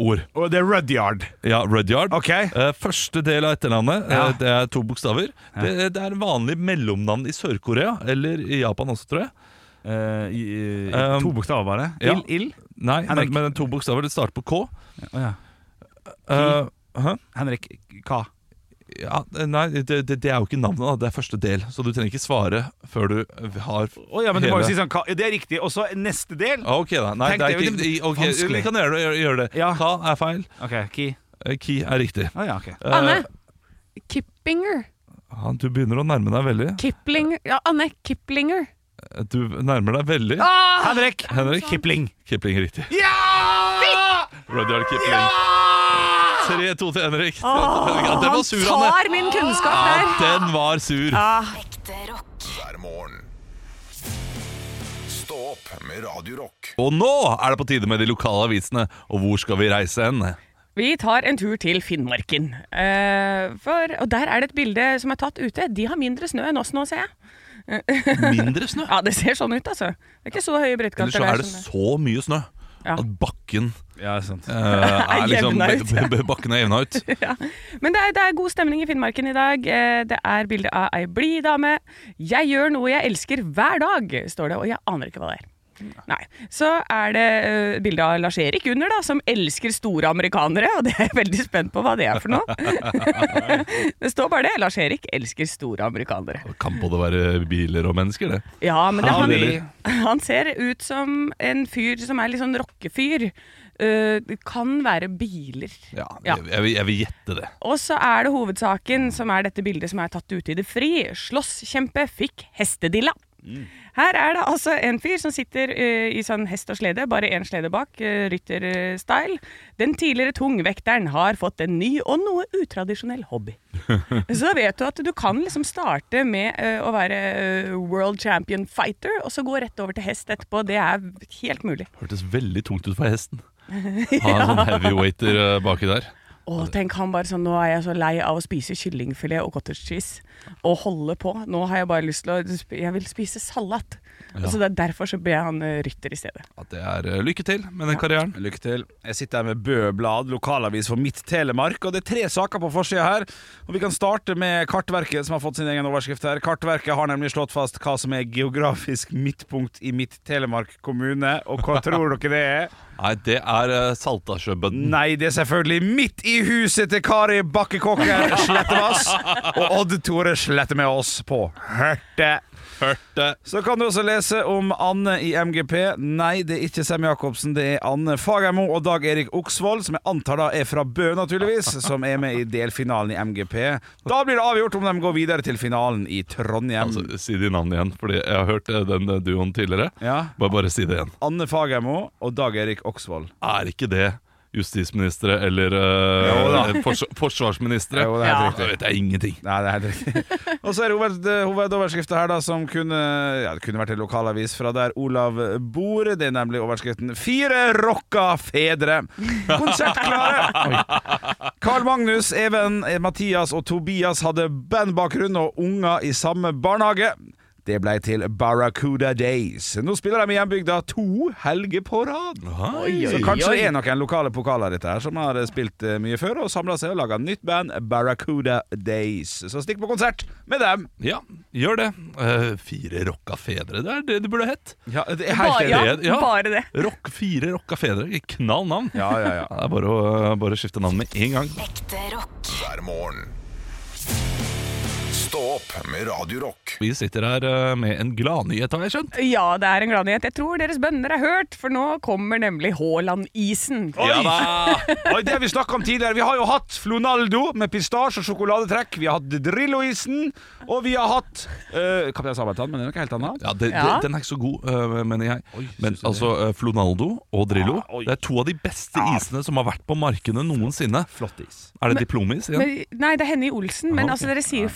Speaker 3: ord.
Speaker 2: Og det er Rudyard.
Speaker 3: Ja, Rudyard.
Speaker 2: Ok.
Speaker 3: Eh, første del av etternavnet,
Speaker 2: Ja.
Speaker 3: eh, det er to bokstaver. Det, det er vanlig mellomnavn i Sør-Korea, eller i Japan også, tror jeg.
Speaker 2: Eh, i- i-
Speaker 3: Um,
Speaker 2: to bokstaver bare.
Speaker 3: ja.
Speaker 2: Ild? Ild?
Speaker 3: Nei, men,
Speaker 2: Henrik.
Speaker 3: men to bokstaver, det starter på K.
Speaker 2: Å ja.
Speaker 3: Eh, Hæ?
Speaker 2: Henrik hva?
Speaker 3: Ja, nei, det, det, det er jo ikke navnet, da. det er første del. Så du trenger ikke svare før du eh, har
Speaker 2: Å ja, men du
Speaker 3: hele-
Speaker 2: må jo
Speaker 3: Ah,
Speaker 2: si sånn hva? Det er riktig. Og så neste del.
Speaker 3: Ok, da. Nei,
Speaker 2: Tenk
Speaker 3: det er
Speaker 2: det,
Speaker 3: ikke
Speaker 2: det blir
Speaker 3: ok,
Speaker 2: vanskelig.
Speaker 3: Vi kan gjøre det. Gjøre, gjøre det.
Speaker 2: Ja.
Speaker 3: Ka er feil.
Speaker 2: OK, Ki.
Speaker 3: Eh, Ki er riktig.
Speaker 2: Å ja,
Speaker 3: Eh.
Speaker 2: ok.
Speaker 3: Uh,
Speaker 4: Anne Kippinger.
Speaker 3: Ja, du begynner å nærme deg veldig.
Speaker 4: Kipling Ja, Anne Kiplinger.
Speaker 3: Du nærmer deg veldig.
Speaker 2: Henrik.
Speaker 3: Henrik.
Speaker 2: Kipling.
Speaker 3: Kipling er riktig.
Speaker 2: Ja!
Speaker 3: Rudyard Kipling. 3-2 til Henrik. 3-2 til Henrik. Ja, den var sur, Anne. Ah.
Speaker 4: tar min kunnskap
Speaker 3: Ja,
Speaker 4: her.
Speaker 3: den var sur.
Speaker 5: Ekte rock.
Speaker 1: hver morgen. Stå opp med Radio Rock.
Speaker 3: Og nå er det på tide med de lokale avisene. Og hvor skal vi reise hen?
Speaker 4: Vi tar en tur til Finnmarken. Eh, for, og der er det et bilde som er tatt ute. De har mindre snø enn oss nå, ser jeg.
Speaker 3: Mindre snø?
Speaker 4: Ja, det ser sånn ut, altså. Det er ikke så høye
Speaker 3: Eller
Speaker 4: brettkanter
Speaker 3: så
Speaker 4: der
Speaker 3: er det
Speaker 4: som det-
Speaker 3: så mye snø
Speaker 4: Ja.
Speaker 3: at bakken
Speaker 2: Ja, sant.
Speaker 3: eh, er liksom,
Speaker 4: jevna ut,
Speaker 3: b-
Speaker 4: ja.
Speaker 3: b- Bakken er jevna ut.
Speaker 4: ja. Men det er, det er god stemning i Finnmarken i dag. Eh, Det er bilde av ei blid dame. 'Jeg gjør noe jeg elsker hver dag', står det, og jeg aner ikke hva det er. Nei. Så er det eh, bilde av Lars-Erik under, da, som elsker store amerikanere. Og det er jeg veldig spent på hva det er for noe. det står bare det. Lars-Erik elsker store amerikanere.
Speaker 3: Kan både være biler og mennesker, det.
Speaker 4: Ja, men det,
Speaker 3: Han
Speaker 4: han,
Speaker 3: lever.
Speaker 4: han ser ut som en fyr som er litt sånn rockefyr. Eh, det kan være biler.
Speaker 3: Ja,
Speaker 4: Ja.
Speaker 3: Jeg, jeg, vil- jeg vil gjette det.
Speaker 4: Og så er det hovedsaken, som er dette bildet som er tatt ute i det fri. Slåsskjempe fikk hestedilla. Her er det altså en fyr som sitter eh, i sånn hest og slede, bare én slede bak, eh, rytterstyle. Den tidligere tungvekteren har fått en ny og noe utradisjonell hobby. så da vet du at du kan liksom starte med eh, å være eh, world champion fighter, og så gå rett over til hest etterpå. Det er helt mulig.
Speaker 3: Hørtes veldig tungt ut for hesten. Ha en sånn heavyweighter eh, baki der.
Speaker 4: Å, tenk han bare sånn, nå er jeg så lei av å spise kyllingfilet og cottage cheese og holde på. Nå har jeg bare lyst til å, sp- jeg vil spise salat. Og Så det er derfor så ble han eh, rytter i stedet.
Speaker 3: At det er eh, lykke til med den karrieren.
Speaker 2: Lykke til. Jeg sitter her med Bø-blad, lokalavis for Midt-Telemark. Og Det er tre saker på forsida her. Og Vi kan starte med Kartverket, som har fått sin egen overskrift her. Kartverket har nemlig slått fast hva som er geografisk midtpunkt i Midt-Telemark kommune. Og hva tror dere det er?
Speaker 3: Nei, det er eh, Saltasjøbønden.
Speaker 2: Nei, det er selvfølgelig midt i huset til Kari Bakkekokker Slettevass og Odd Tore Slette med oss på Hørte.
Speaker 3: Hørte.
Speaker 2: Så kan du også lese om Anne i MGP. Nei, det er ikke Sem Jacobsen, det er Anne Fagermo og Dag Erik Oksvold, som jeg antar da er fra Bø, naturligvis, som er med i delfinalen i MGP. Da blir det avgjort om de går videre til finalen i Trondheim.
Speaker 3: Altså, si de navnene igjen, Fordi jeg har hørt eh, den eh, duoen tidligere.
Speaker 2: Ja.
Speaker 3: Bare, bare si det igjen.
Speaker 2: Anne Fagermo og Dag Erik Oksvold.
Speaker 3: Er ikke det justisministre eller
Speaker 2: Jo da.
Speaker 3: uh, fors forsvarsministre?
Speaker 2: Jo, det er helt riktig.
Speaker 3: Da vet jeg ingenting.
Speaker 2: Nei, det er helt riktig. Og så er det hoved, hovedoverskriften her, da, som kunne, ja, det kunne vært en lokalavis fra der Olav bor. Det er nemlig overskriften 'Fire rocka fedre'. Konsertklare! Carl Magnus, Even, Mathias og Tobias hadde bandbakgrunn og unger i samme barnehage. Det ble til Barracuda Days. Nå spiller de i hjembygda to helger på rad. Så kanskje det er noen lokale pokaler dette her som har eh, spilt eh, mye før og samla seg og laga nytt band, Barracuda Days. Så stikk på konsert med dem!
Speaker 3: Ja, gjør det. Eh, fire rocka fedre, det er det det burde hett.
Speaker 2: Ja, det er
Speaker 4: Bare, ja,
Speaker 3: enig, ja.
Speaker 4: bare det.
Speaker 3: Rock, fire rocka fedre. Knall navn.
Speaker 2: Ja, ja, ja.
Speaker 3: Det er bare å, eh, bare å skifte navn med en gang.
Speaker 5: Ekte rock.
Speaker 1: hver morgen. Stå opp med Radio Rock.
Speaker 3: Vi sitter her eh, med en gladnyhet, har jeg skjønt.
Speaker 4: Ja, det er en gladnyhet. Jeg tror deres bønner er hørt, for nå kommer nemlig Haaland-isen.
Speaker 2: Oi!
Speaker 3: Ja da!
Speaker 2: Oi, det har vi snakka om tidligere. Vi har jo hatt Flonaldo med pistasje og sjokoladetrekk. Vi har hatt Drillo-isen, og vi har hatt eh, Kaptein Sabeltann, men det er noe helt annet.
Speaker 3: Ja, det,
Speaker 4: Ja.
Speaker 3: det- Den er ikke så god, eh, mener jeg. Men
Speaker 2: synes du
Speaker 3: altså, eh, Flonaldo og Drillo
Speaker 2: Ja, oi.
Speaker 3: Det er to av de beste isene som har vært på markedene noensinne.
Speaker 2: Flott is.
Speaker 3: Er det diplomis igjen?
Speaker 4: Men, nei, det er Henny Olsen, men
Speaker 3: Ah, ok.
Speaker 4: altså, dere sier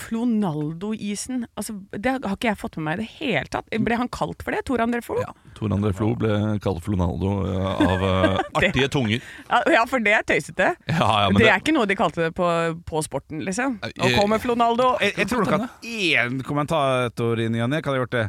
Speaker 4: Flonaldo-isen. Altså, det har ikke jeg fått med meg i det hele tatt. Ble han kalt for det, Tor André Flo?
Speaker 3: Mm. Ja. Tor André Flo ble kalt Flonaldo eh, av eh, artige tunger.
Speaker 4: Ja, ja, for det er tøysete.
Speaker 3: Ja, ja, men
Speaker 4: det,
Speaker 3: det-
Speaker 4: er ikke noe de kalte det på, på sporten, liksom. Nå
Speaker 3: Eh,
Speaker 4: kommer Flonaldo.
Speaker 2: Jeg, jeg tror nok at én kommentator i ny og ne kan ha gjort det.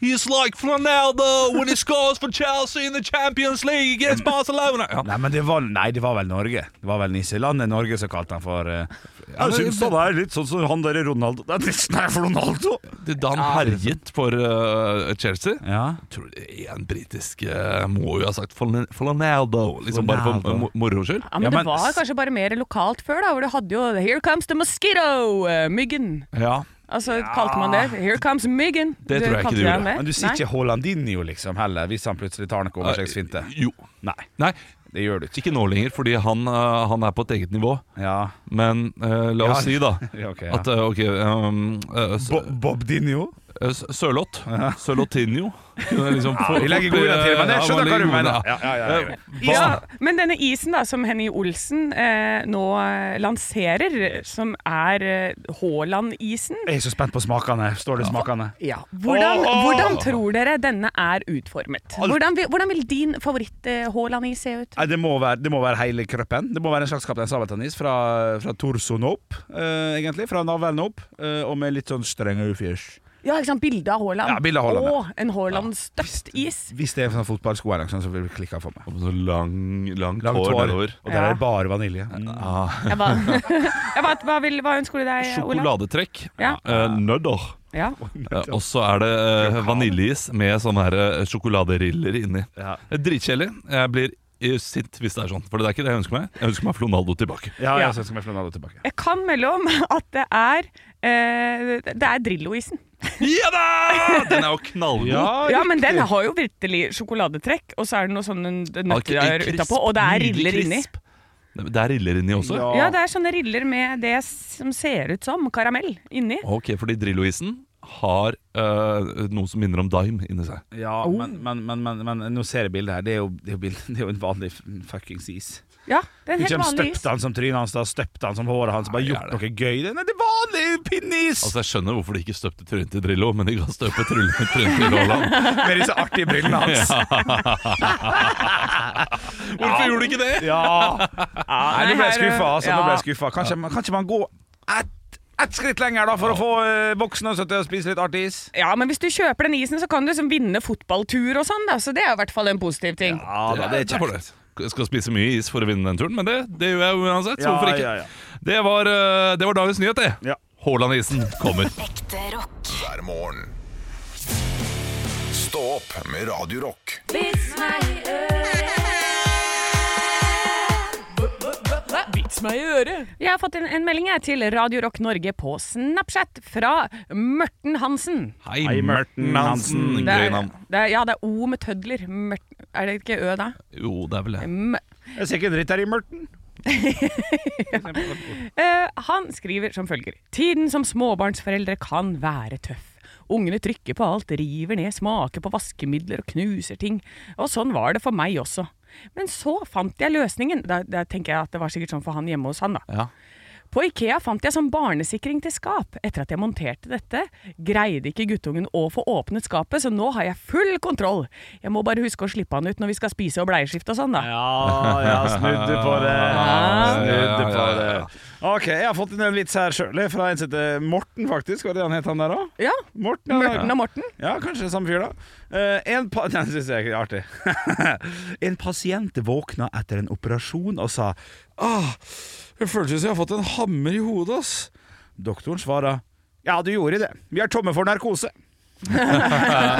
Speaker 3: He's like Flonaldo when he scores for Chelsea in the Champions League against Barcelona! Ja.
Speaker 2: Nei, men det var, nei, det var vel Norge. Det var vel nisselandet Norge som kalte han for eh,
Speaker 3: men-
Speaker 7: Jeg syns han er litt sånn som han der Ronaldo. Det er nesten her for Ronaldo!
Speaker 3: Det- Da han herjet for eh, Chelsea
Speaker 7: Ja.
Speaker 3: Tror du det er en britisk eh, må jo ha sagt Fol- Folaneldo, liksom bare for
Speaker 7: Folaneldo.
Speaker 3: mo- moro skyld?
Speaker 4: Ja, men,
Speaker 7: Ja, men-
Speaker 4: det var kanskje bare mer lokalt før, da, hvor du hadde jo Here comes the mosquito! eh, Myggen.
Speaker 3: Ja.
Speaker 4: Altså, kalte man det Here comes myggen?
Speaker 3: Det tror jeg ikke
Speaker 4: kalte
Speaker 3: du
Speaker 4: den
Speaker 3: gjorde.
Speaker 4: det?
Speaker 2: Men du sier
Speaker 4: Nei.
Speaker 2: ikke Haalandinho, liksom, heller, hvis han plutselig tar noe overskjeggsfinte.
Speaker 3: Jo.
Speaker 2: Nei,
Speaker 3: Nei,
Speaker 2: det gjør du ikke.
Speaker 3: ikke nå lenger, fordi han, eh, han er på et eget nivå.
Speaker 2: Ja,
Speaker 3: Men eh, la oss
Speaker 2: Ja.
Speaker 3: si, da,
Speaker 2: ja ok. Ja.
Speaker 3: at eh, OK um, eh, S-
Speaker 7: Bo Bob Dinio.
Speaker 3: eh, S- Sørloth. Sørlothinho. Kunne liksom få-
Speaker 2: Vi legger gode til, men jeg
Speaker 3: Ja, man
Speaker 2: skjønner hva
Speaker 3: legger
Speaker 2: du
Speaker 3: gode,
Speaker 2: mener.
Speaker 3: ja.
Speaker 2: Ja, ja, ja, ja.
Speaker 4: Ja, men denne isen da, som Henny Olsen eh, nå eh, lanserer, som er eh, Haaland-isen
Speaker 2: Jeg er så spent på smakene. Står det smakene?
Speaker 4: ja. hvordan,
Speaker 7: Åh!
Speaker 4: hvordan tror dere denne er utformet? Hvordan vil, hvordan vil din favoritt-Haaland-is se ut?
Speaker 2: Nei, det må, være, det må være hele kroppen. Det må være en slags Kaptein Sabeltann-is fra, fra torsoen opp, eh, egentlig. Fra navlen opp, eh, og med litt sånn strenge ufjørs.
Speaker 4: Ja, ikke sant? Bilde av Haaland.
Speaker 2: Ja, bilde av Haaland, ja.
Speaker 4: Og en Haaland-støpt is.
Speaker 2: Hvis det er sånn fotballsko eller noe sånt, så blir det klikka for meg.
Speaker 3: Og så Lang, langt
Speaker 2: Langt
Speaker 3: hår
Speaker 2: hår,
Speaker 3: nedover.
Speaker 2: og der er
Speaker 4: Ja.
Speaker 2: det bare vanilje. Mm.
Speaker 4: Jeg ba, jeg ba, hva, vil, hva ønsker du deg, Olav?
Speaker 3: Sjokoladetrekk.
Speaker 4: Ja.
Speaker 3: Eh, nødder.
Speaker 4: Ja.
Speaker 3: Eh, Og så er det eh, vaniljeis med sånne her eh, sjokoladeriller inni.
Speaker 2: Ja.
Speaker 3: Eh, Dritkjedelig. Jeg blir eh, sint hvis det er sånn, for det er ikke det jeg ønsker meg. Jeg ønsker meg Flonaldo tilbake.
Speaker 2: Ja,
Speaker 4: Ja.
Speaker 2: jeg skal med Flanado tilbake.
Speaker 4: Jeg kan melde om at det er eh, Det er Drillo-isen.
Speaker 3: Ja da! Den er jo knallgod.
Speaker 4: Ja, men den har jo virkelig sjokoladetrekk, og så er det noe sånn nøtter
Speaker 3: Krisp,
Speaker 4: utapå, og det er
Speaker 3: nydelig
Speaker 4: riller inni.
Speaker 3: krisp. Det det er riller inni også?
Speaker 4: Ja, det er sånne riller med det som ser ut som karamell inni.
Speaker 3: Ok, fordi Drillo-isen har eh, noe som minner om Dime inni seg.
Speaker 2: Ja,
Speaker 4: Oh.
Speaker 2: men, men, men, men, men nå ser jeg bildet her. Det er jo, det er jo, bild- det er jo en vanlig f- fuckings is.
Speaker 4: Ja, det er en
Speaker 2: Ikke
Speaker 4: helt
Speaker 2: de
Speaker 4: vanlig is.
Speaker 2: støpte han som trynet hans, da støpte han som håret hans. Bare
Speaker 3: Nei, er
Speaker 2: gjort noe gøy. Det- Nei, det er vanlig pinneis!
Speaker 3: Altså, Jeg skjønner hvorfor de ikke støpte trynet til Drillo, men de kan støpe trynet trynet til Haaland.
Speaker 2: med disse artige brillene hans.
Speaker 3: Hvorfor gjorde de ikke det?
Speaker 2: Ja. Nei, nå ble jeg
Speaker 4: her er-
Speaker 2: skuffa, altså. Nå
Speaker 4: ja.
Speaker 2: ble jeg skuffa. Kanskje, man- kanskje man går ett ett skritt lenger, da, for å få eh, voksne også til å spise litt artig is.
Speaker 4: Ja, men hvis du kjøper den isen, så kan du liksom vinne fotballtur og sånn, da, så det er jo i hvert fall en positiv ting.
Speaker 2: Ja da, det er
Speaker 3: for
Speaker 2: kjekt.
Speaker 3: det. Jeg skal spise mye is for å vinne den turen, men det, det gjør jeg jo uansett. så
Speaker 2: Ja,
Speaker 3: hvorfor ikke?
Speaker 2: ja, ja.
Speaker 3: Det, var, eh, det var dagens nyhet, det.
Speaker 2: Ja.
Speaker 3: Haaland-isen kommer.
Speaker 5: Ekte rock.
Speaker 1: hver morgen. Stå opp med Radio Rock.
Speaker 4: Jeg har fått en, en melding jeg, til Radio Rock Norge på Snapchat fra Mørten Hansen.
Speaker 3: Hei,
Speaker 2: Hei, Morten Hansen.
Speaker 4: Det
Speaker 3: Gøy
Speaker 4: er,
Speaker 3: navn.
Speaker 4: det er, ja, det er O med tødler. Mørten, er det ikke Ø da?
Speaker 3: Jo, det er vel det.
Speaker 4: M
Speaker 2: Jeg ser ikke en dritt her i Mørten.
Speaker 4: Eh, han skriver som følger Tiden som småbarnsforeldre kan være tøff. Ungene trykker på alt, river ned, smaker på vaskemidler og knuser ting. Og sånn var det for meg også. Men så fant jeg løsningen. Da, da tenker jeg at det var sikkert sånn for han hjemme hos han, da.
Speaker 3: Ja.
Speaker 4: På Ikea fant jeg sånn barnesikring til skap. Etter at jeg monterte dette, greide ikke guttungen å få åpnet skapet, så nå har jeg full kontroll. Jeg må bare huske å slippe han ut når vi skal spise og bleieskifte og sånn, da.
Speaker 2: Ja, ja, snudde på det. Snudde på
Speaker 3: Ja, ja, ja,
Speaker 2: det.
Speaker 8: eh,
Speaker 3: ja.
Speaker 2: Ah. OK, jeg har fått inn en vits her sjøl, fra en som heter Morten, faktisk. Var det han het, han der òg?
Speaker 4: Ja.
Speaker 2: Morten, ja.
Speaker 4: Mørten og Morten.
Speaker 2: Ja, kanskje det er samme fyr, da. Eh, en pa Nei, det synes jeg er artig. en pasient våkna etter en operasjon og sa Åh, det føles som jeg har fått en hammer i hodet, ass. Doktoren svarer Ja, du gjorde det. Vi er tomme for narkose.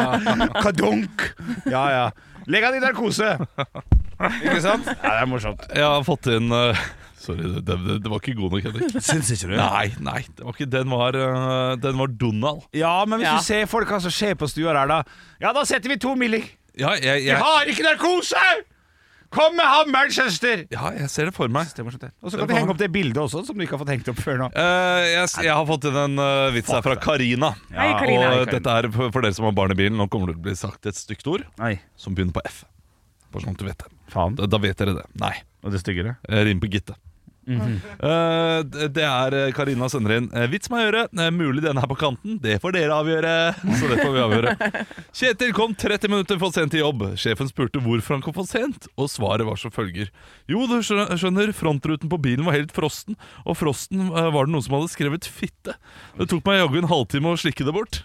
Speaker 2: Kadunk! Ja, ja. Legg han i narkose! Ikke sant? Ja, det er morsomt.
Speaker 3: Jeg har fått inn eh, Sorry, det, det, det var ikke god nok, Henrik.
Speaker 2: Syns ikke du?
Speaker 3: Nei, nei, det var ikke, den, var, eh, den var Donald.
Speaker 2: Ja, men hvis
Speaker 4: Ja.
Speaker 2: du ser folk hva som skjer på stua der, da Ja, da setter vi to milli.
Speaker 3: Ja, jeg,
Speaker 2: Vi
Speaker 3: jeg,
Speaker 2: har ikke narkose! Kom med hammeren, søster!
Speaker 3: ja, jeg ser det for meg.
Speaker 2: Det er morsomt, det. Og så
Speaker 3: Det
Speaker 2: kan
Speaker 3: er
Speaker 2: du henge
Speaker 3: bra.
Speaker 2: opp det bildet også, som du ikke har fått hengt opp før nå.
Speaker 3: Eh, jeg, s- jeg har fått inn en eh, vits her fra Karina.
Speaker 4: Hei, Karina.
Speaker 3: Og dette er for, for dere som har barn i bilen. Nå kommer det til å bli sagt et stygt ord
Speaker 2: Nei,
Speaker 3: som begynner på F. Bare sånn at du vet det.
Speaker 2: faen.
Speaker 3: Da, da vet dere det. Nei.
Speaker 2: Og det styggere.
Speaker 3: Jeg rimer på Gitte. Eh, det- det er Karina sender inn eh, Vits meg å gjøre, Eh, mulig denne her på kanten Det får dere avgjøre Så det får vi avgjøre Kjetil kom 30 minutter for sent til jobb Sjefen spurte hvorfor han kom for sent Og svaret var som følger Jo, du skjø- skjønner, frontruten på bilen var helt frosten Og frosten eh, var det noen som hadde skrevet fitte Det tok meg jaggu en halvtime å slikke det bort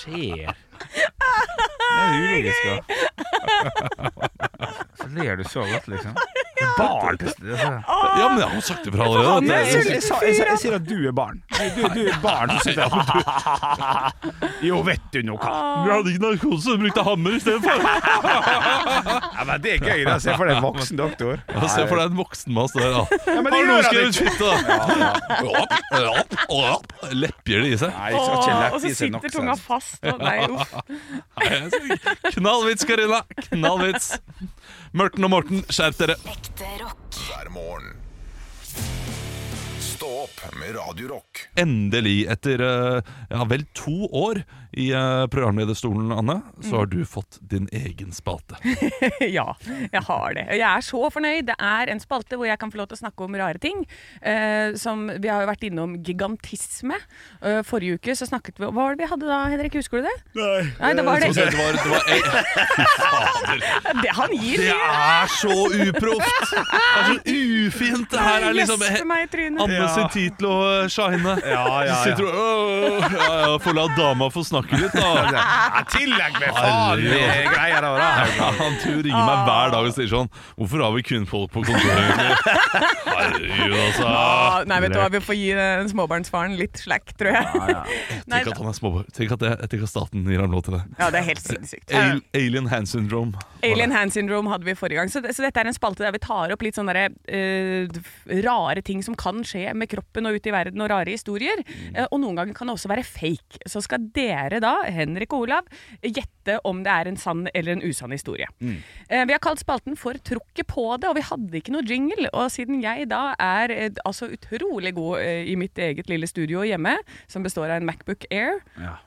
Speaker 2: Skjer. Det er ulogisk, da. Så ler du så godt, liksom. Barn, plutselig. altså.
Speaker 3: Ja, men jeg har jo sagt ifra allerede.
Speaker 2: Jeg,
Speaker 3: at
Speaker 2: jeg,
Speaker 3: jeg-
Speaker 2: jeg, sa- jeg, sa- jeg sier at du er barn. Du, du er barn. Så sier jeg at du- Jo, vet du noe.
Speaker 3: Jeg hadde ikke narkose, jeg brukte hammer istedenfor.
Speaker 2: Ja, men det er gøy. da Se for deg en voksen doktor.
Speaker 3: Ja, Se for deg en voksen mass der, da.
Speaker 2: Ja, men det
Speaker 3: Har
Speaker 2: gjør
Speaker 3: noen
Speaker 2: han
Speaker 3: skrevet
Speaker 2: ikke.
Speaker 3: fitte, da? Opp, opp, opp. Lepper det i seg.
Speaker 2: Nei, jeg skal ikke
Speaker 4: og
Speaker 2: lette
Speaker 4: så
Speaker 2: i seg nok.
Speaker 4: sitter tunga
Speaker 2: seriøst.
Speaker 4: fast. Og nei, uff.
Speaker 3: Knallvits, Karina. Knallvits. Mørten og Morten, skjerp dere.
Speaker 5: Ekte rock.
Speaker 1: hver morgen. Stå opp med Radio Rock.
Speaker 3: Endelig, etter eh, ja, vel to år i eh, programlederstolen, Anne, så har du fått din egen spalte.
Speaker 4: Ja, jeg har det. Og Jeg er så fornøyd. Det er en spalte hvor jeg kan få lov til å snakke om rare ting. Eh, som Vi har jo vært innom gigantisme. Eh, forrige uke så snakket vi om Hva var det vi hadde da, Henrik? Husker du det? Nei, det var det.
Speaker 3: Så Det var, det var
Speaker 4: det han gir
Speaker 3: Det
Speaker 4: mye!
Speaker 3: er så uproft! Det er så ufint! Det her er liksom
Speaker 4: Gjeste meg i trynet.
Speaker 3: Anne sin tid til å eh, shine.
Speaker 2: Ja, ja,
Speaker 3: Så sitter du og ja, ja, Får la dama få snakke litt, da.
Speaker 2: Ja, tillegg med farlige greier. da, da.
Speaker 3: Ja, Han tror ringer meg hver dag og sier sånn Hvorfor har vi kun folk på kontoret, egentlig? Herregud, altså.
Speaker 4: Ah, nei, vet du hva, vi får gi den småbarnsfaren litt slack, tror jeg. Nei,
Speaker 3: Tenk at han er småbarn. Tenk at, det, tenk at staten gir ham lov til det.
Speaker 4: ja, det er helt sinnssykt.
Speaker 3: Al Alien hand syndrome.
Speaker 4: Alien hand syndrome hadde vi forrige gang, så, det, så dette er en spalte der vi tar opp litt sånne der, eh, f- rare ting som kan skje med kroppen og ute i verden, og rare historier. Eh, og noen ganger kan det også være fake. Så skal dere da, Henrik og Olav, gjette om det er en sann eller en usann historie. Eh, vi har kalt spalten for Trukket på det, og vi hadde ikke noe jingle. Og siden jeg da er eh, altså utrolig god eh, i mitt eget lille studio hjemme, som består av en Macbook Air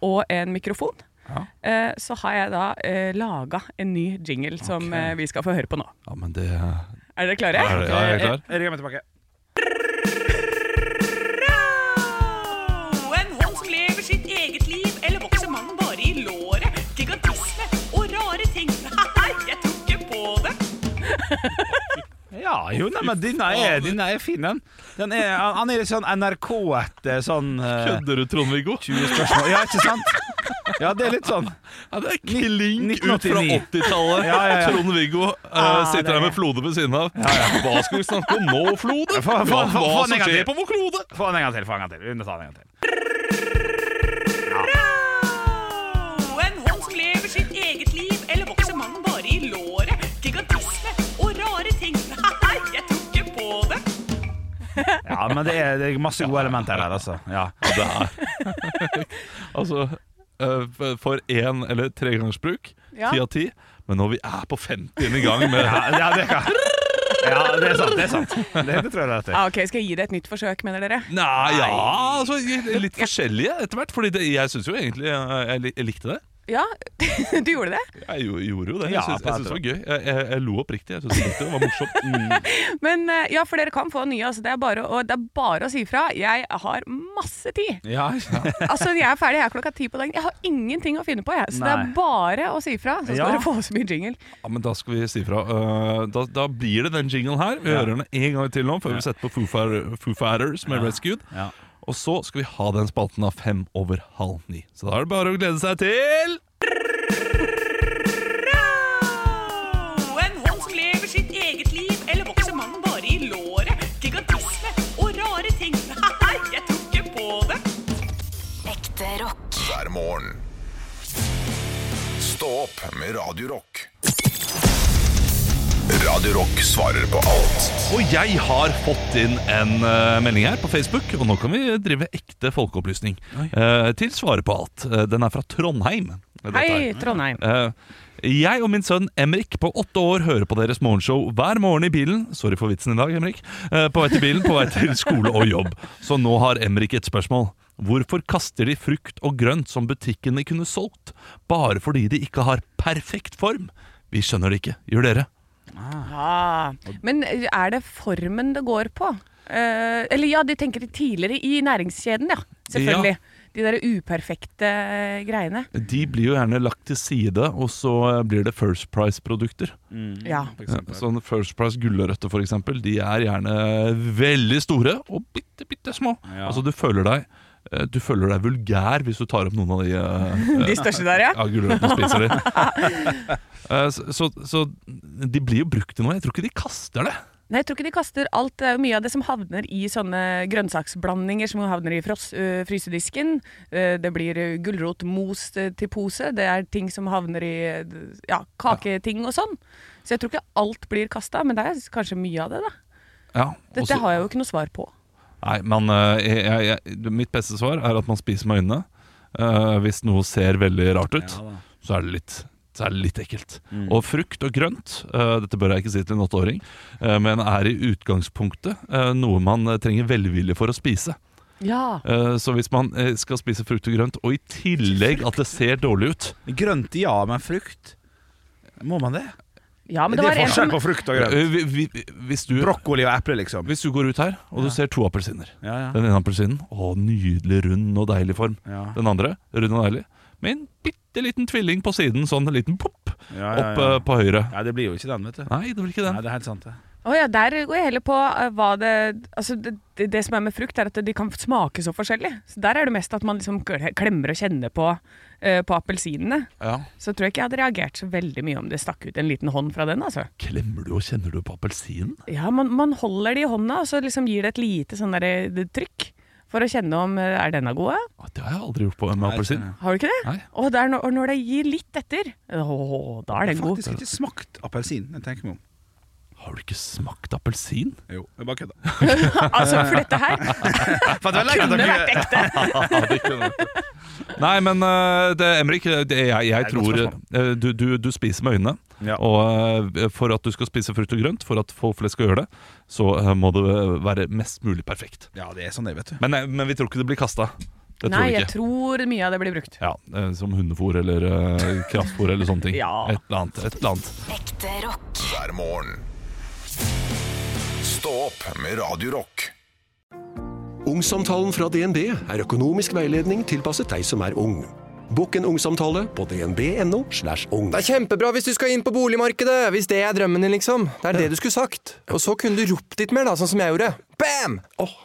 Speaker 4: og en mikrofon, Eh, så har jeg da uh, laga en ny jingle som eh, vi skal få høre på nå.
Speaker 3: Ja, men det er
Speaker 4: Er dere klare?
Speaker 3: det, ja, jeg er klar.
Speaker 2: Jeg ringer meg tilbake.
Speaker 4: En hånd lever sitt eget liv, eller vokser mannen bare i låret? Gigantisme og rare ting. Nei, jeg tror ikke på det.
Speaker 2: Ja, jo, nei, men denne er, denne er fin, den. den er, han- han er litt sånn NRK-ete sånn eh,
Speaker 3: Kødder du, Trond-Viggo?
Speaker 2: spørsmål. Ja, ikke sant? Ja, det er litt sånn.
Speaker 3: Ja, det er klink ut fra
Speaker 2: 1989.
Speaker 3: 80-tallet.
Speaker 2: Ja, ja, ja.
Speaker 3: Trond-Viggo eh, sitter her med Flode ved siden av. Hva skal vi snakke om nå, Flode?
Speaker 2: Få-
Speaker 3: Hva,
Speaker 2: få- få-
Speaker 3: hva
Speaker 2: få den en
Speaker 3: som
Speaker 2: gang
Speaker 3: skjer
Speaker 2: til.
Speaker 3: på vår klode?
Speaker 2: Få den en gang til. få den en gang til. Vi må ta den en gang til.
Speaker 4: En hånd som lever sitt eget liv, eller vokser mannen bare i låret? Gigantisme og rare ting. Nei, jeg tror ikke på det.
Speaker 2: Ja, men det er, det er masse gode elementer her, altså. Ja.
Speaker 3: Altså, eh, f- for én- eller tregangsbruk,
Speaker 4: Ja.
Speaker 3: ti av ti. Men når vi er på 50. gang med
Speaker 2: Ja, ja, det kan Ja, det er sant. Det er sant. Det, det tror jeg det er. til.
Speaker 4: Ah, ok, Skal jeg gi det et nytt forsøk, mener dere?
Speaker 3: Nei, ja, altså, litt forskjellige etter hvert. Fordi det, jeg syns jo egentlig eh, jeg, lik- jeg likte det.
Speaker 4: Ja, du gjorde det.
Speaker 3: Jeg gjorde, gjorde jo det.
Speaker 2: Ja,
Speaker 3: Jeg syns
Speaker 2: på
Speaker 3: jeg syns det var gøy. Jeg, jeg, jeg lo oppriktig. Jeg syns jeg likte det. det var morsomt.
Speaker 2: Mm.
Speaker 4: Men eh, ja, for dere kan få nye. Altså, det, er bare å, det er bare å si fra. Jeg har masse tid.
Speaker 2: Ja,
Speaker 4: Altså, Jeg er ferdig her klokka ti på dagen. Jeg har ingenting å finne på, jeg. Så det
Speaker 2: Nei.
Speaker 4: er bare å si fra, så skal
Speaker 2: Ja.
Speaker 4: dere få så mye jingle.
Speaker 3: Ja, men Da skal vi si fra. Eh, da, da blir det den jinglen her. Vi hører den en gang til nå før vi setter på Foo, Fighter, Foo Fighters med Rescued.
Speaker 2: Ja.
Speaker 3: Og så skal vi ha den spalten av fem over halv ni. Så da er det bare å glede seg til
Speaker 4: En hånd som lever sitt eget liv, eller vokser mannen bare i låret? Gigantisme og rare ting. Nei, jeg tror ikke på det.
Speaker 5: Ekte rock.
Speaker 1: hver morgen. Stå opp med Radio Rock. Radio Rock svarer på alt
Speaker 3: Og jeg har fått inn en eh, melding her på Facebook, og nå kan vi drive ekte folkeopplysning. Eh, til Svare på alt. Eh, den er fra Trondheim. Dette
Speaker 4: Hei,
Speaker 3: her.
Speaker 4: Trondheim.
Speaker 3: Eh, jeg og min sønn Emrik på åtte år hører på deres morgenshow hver morgen i bilen. Sorry for vitsen i dag, Emrik. Eh, på vei til bilen, på vei til skole og jobb. Så nå har Emrik et spørsmål. Hvorfor kaster de frukt og grønt som butikkene kunne solgt, bare fordi de ikke har perfekt form? Vi skjønner det ikke. Gjør dere?
Speaker 4: Ah, men er det formen det går på? Eh, eller ja, de tenker tidligere i næringskjeden, ja. Selvfølgelig. De der uperfekte eh, greiene.
Speaker 3: De blir jo gjerne lagt til side, og så eh, blir det First Price-produkter.
Speaker 4: Ja.
Speaker 3: Sånn First Price gulrøtter for eksempel De er gjerne veldig store Og bitte, bitte små
Speaker 2: Ja.
Speaker 3: Altså du føler deg eh, Du føler deg vulgær hvis du tar opp noen av de eh,
Speaker 4: De største der, ja.
Speaker 3: Ja, gulrøttene og spiser de Eh, så, så, så de blir jo brukt til noe Jeg tror ikke de kaster det
Speaker 4: Nei, jeg tror ikke de kaster alt. Det er jo mye av det som havner i sånne grønnsaksblandinger som havner i fros, øh, frysedisken. Eh, det blir øh, gulrotmos eh, til pose. Det er ting som havner i eh, ja, kaketing og sånn. Så jeg tror ikke alt blir kasta, men det er kanskje mye av det, da.
Speaker 3: Ja,
Speaker 4: Dette
Speaker 3: også-
Speaker 4: har jeg jo ikke noe svar på.
Speaker 3: Nei, men eh, jeg, jeg, jeg, mitt beste svar er at man spiser med øynene. Eh, hvis noe ser veldig rart ut, så, er det litt, så er det litt ekkelt.
Speaker 2: Mm.
Speaker 3: Og frukt og grønt, eh, dette bør jeg ikke si til en åtteåring, eh, men er i utgangspunktet eh, noe man eh, trenger velvilje for å spise.
Speaker 4: Ja.
Speaker 3: Eh, så hvis man eh, skal spise frukt og grønt, og i tillegg at det ser dårlig ut
Speaker 2: Grønt, ja, men frukt? Må man det?
Speaker 4: ja, men
Speaker 2: det
Speaker 4: det var
Speaker 2: er
Speaker 4: en
Speaker 2: forskjell
Speaker 4: som
Speaker 2: på frukt og grønt.
Speaker 3: Eh, vi, vi, hvis, du,
Speaker 2: Brokkoli og eple, liksom.
Speaker 3: hvis du går ut her, og du ser to appelsiner
Speaker 2: Ja, ja.
Speaker 3: Den ene appelsinen, å, nydelig rund og deilig form.
Speaker 2: Ja.
Speaker 3: Den andre, rund og deilig, med en bitte liten tvilling på siden, sånn en liten popp
Speaker 2: Ja, ja,
Speaker 3: opp
Speaker 2: ja.
Speaker 3: eh, på høyre.
Speaker 2: Nei, det blir jo ikke den, vet du.
Speaker 3: Nei, det blir ikke
Speaker 2: Nei,
Speaker 3: den.
Speaker 2: det er helt sant, det.
Speaker 4: Å ja, der går jeg heller på eh, hva det Altså, det, det, det som er med frukt, er at de kan smake så forskjellig. Så der er det mest at man liksom kle- klemmer og kjenner på, eh, på appelsinene.
Speaker 3: Ja.
Speaker 4: Så tror jeg ikke jeg hadde reagert så veldig mye om det stakk ut en liten hånd fra den, altså.
Speaker 3: Klemmer du og kjenner du på appelsinen?
Speaker 4: Ja, man, man holder det i hånda, og så liksom gir det et lite sånn der eh, det- trykk. For å kjenne om eh, er denne gode.
Speaker 3: Å, Det har jeg aldri gjort på med appelsin.
Speaker 4: Har du ikke det?
Speaker 3: Nei.
Speaker 4: Og, det er no og når det gir litt etter, å, da er
Speaker 2: Jeg
Speaker 4: den
Speaker 2: har
Speaker 4: god.
Speaker 2: faktisk ikke smakt appelsin. Jeg tenker meg om.
Speaker 3: Har du ikke smakt appelsin?
Speaker 2: Jo, jeg bare kødda.
Speaker 4: Altså, for dette her kunne vært ekte.
Speaker 3: Nei, men eh, det, Emrik, det, jeg, jeg
Speaker 2: et godt
Speaker 3: tror
Speaker 2: spørsmål.
Speaker 3: eh, du, du, du spiser med øynene.
Speaker 2: Ja.
Speaker 3: Og eh, for at du skal spise frukt og grønt, for at folk flest skal gjøre det, så eh, må det være mest mulig perfekt.
Speaker 2: Ja, det er sånn det, vet du.
Speaker 3: Men, eh, men vi tror ikke det blir kasta. Det
Speaker 4: Nei,
Speaker 3: tror vi
Speaker 4: jeg
Speaker 3: ikke.
Speaker 4: tror mye av det blir brukt.
Speaker 3: Ja, eh, Som hundefôr eller uh, kraftfôr eller sånne ting.
Speaker 4: Ja.
Speaker 3: Et eller annet. et eller annet
Speaker 5: Ekte rock.
Speaker 1: hver morgen. Stå opp med Radio Rock.
Speaker 9: Ungsamtalen fra DNB er økonomisk veiledning tilpasset deg som er ung. Bokk en ungsamtale på dnb.no. slash ung.
Speaker 10: Det er kjempebra hvis du skal inn på boligmarkedet, hvis det er drømmen din, liksom. Det er det du skulle sagt. Og så kunne du ropt litt mer, da, sånn som jeg gjorde. Bam!
Speaker 9: Åh,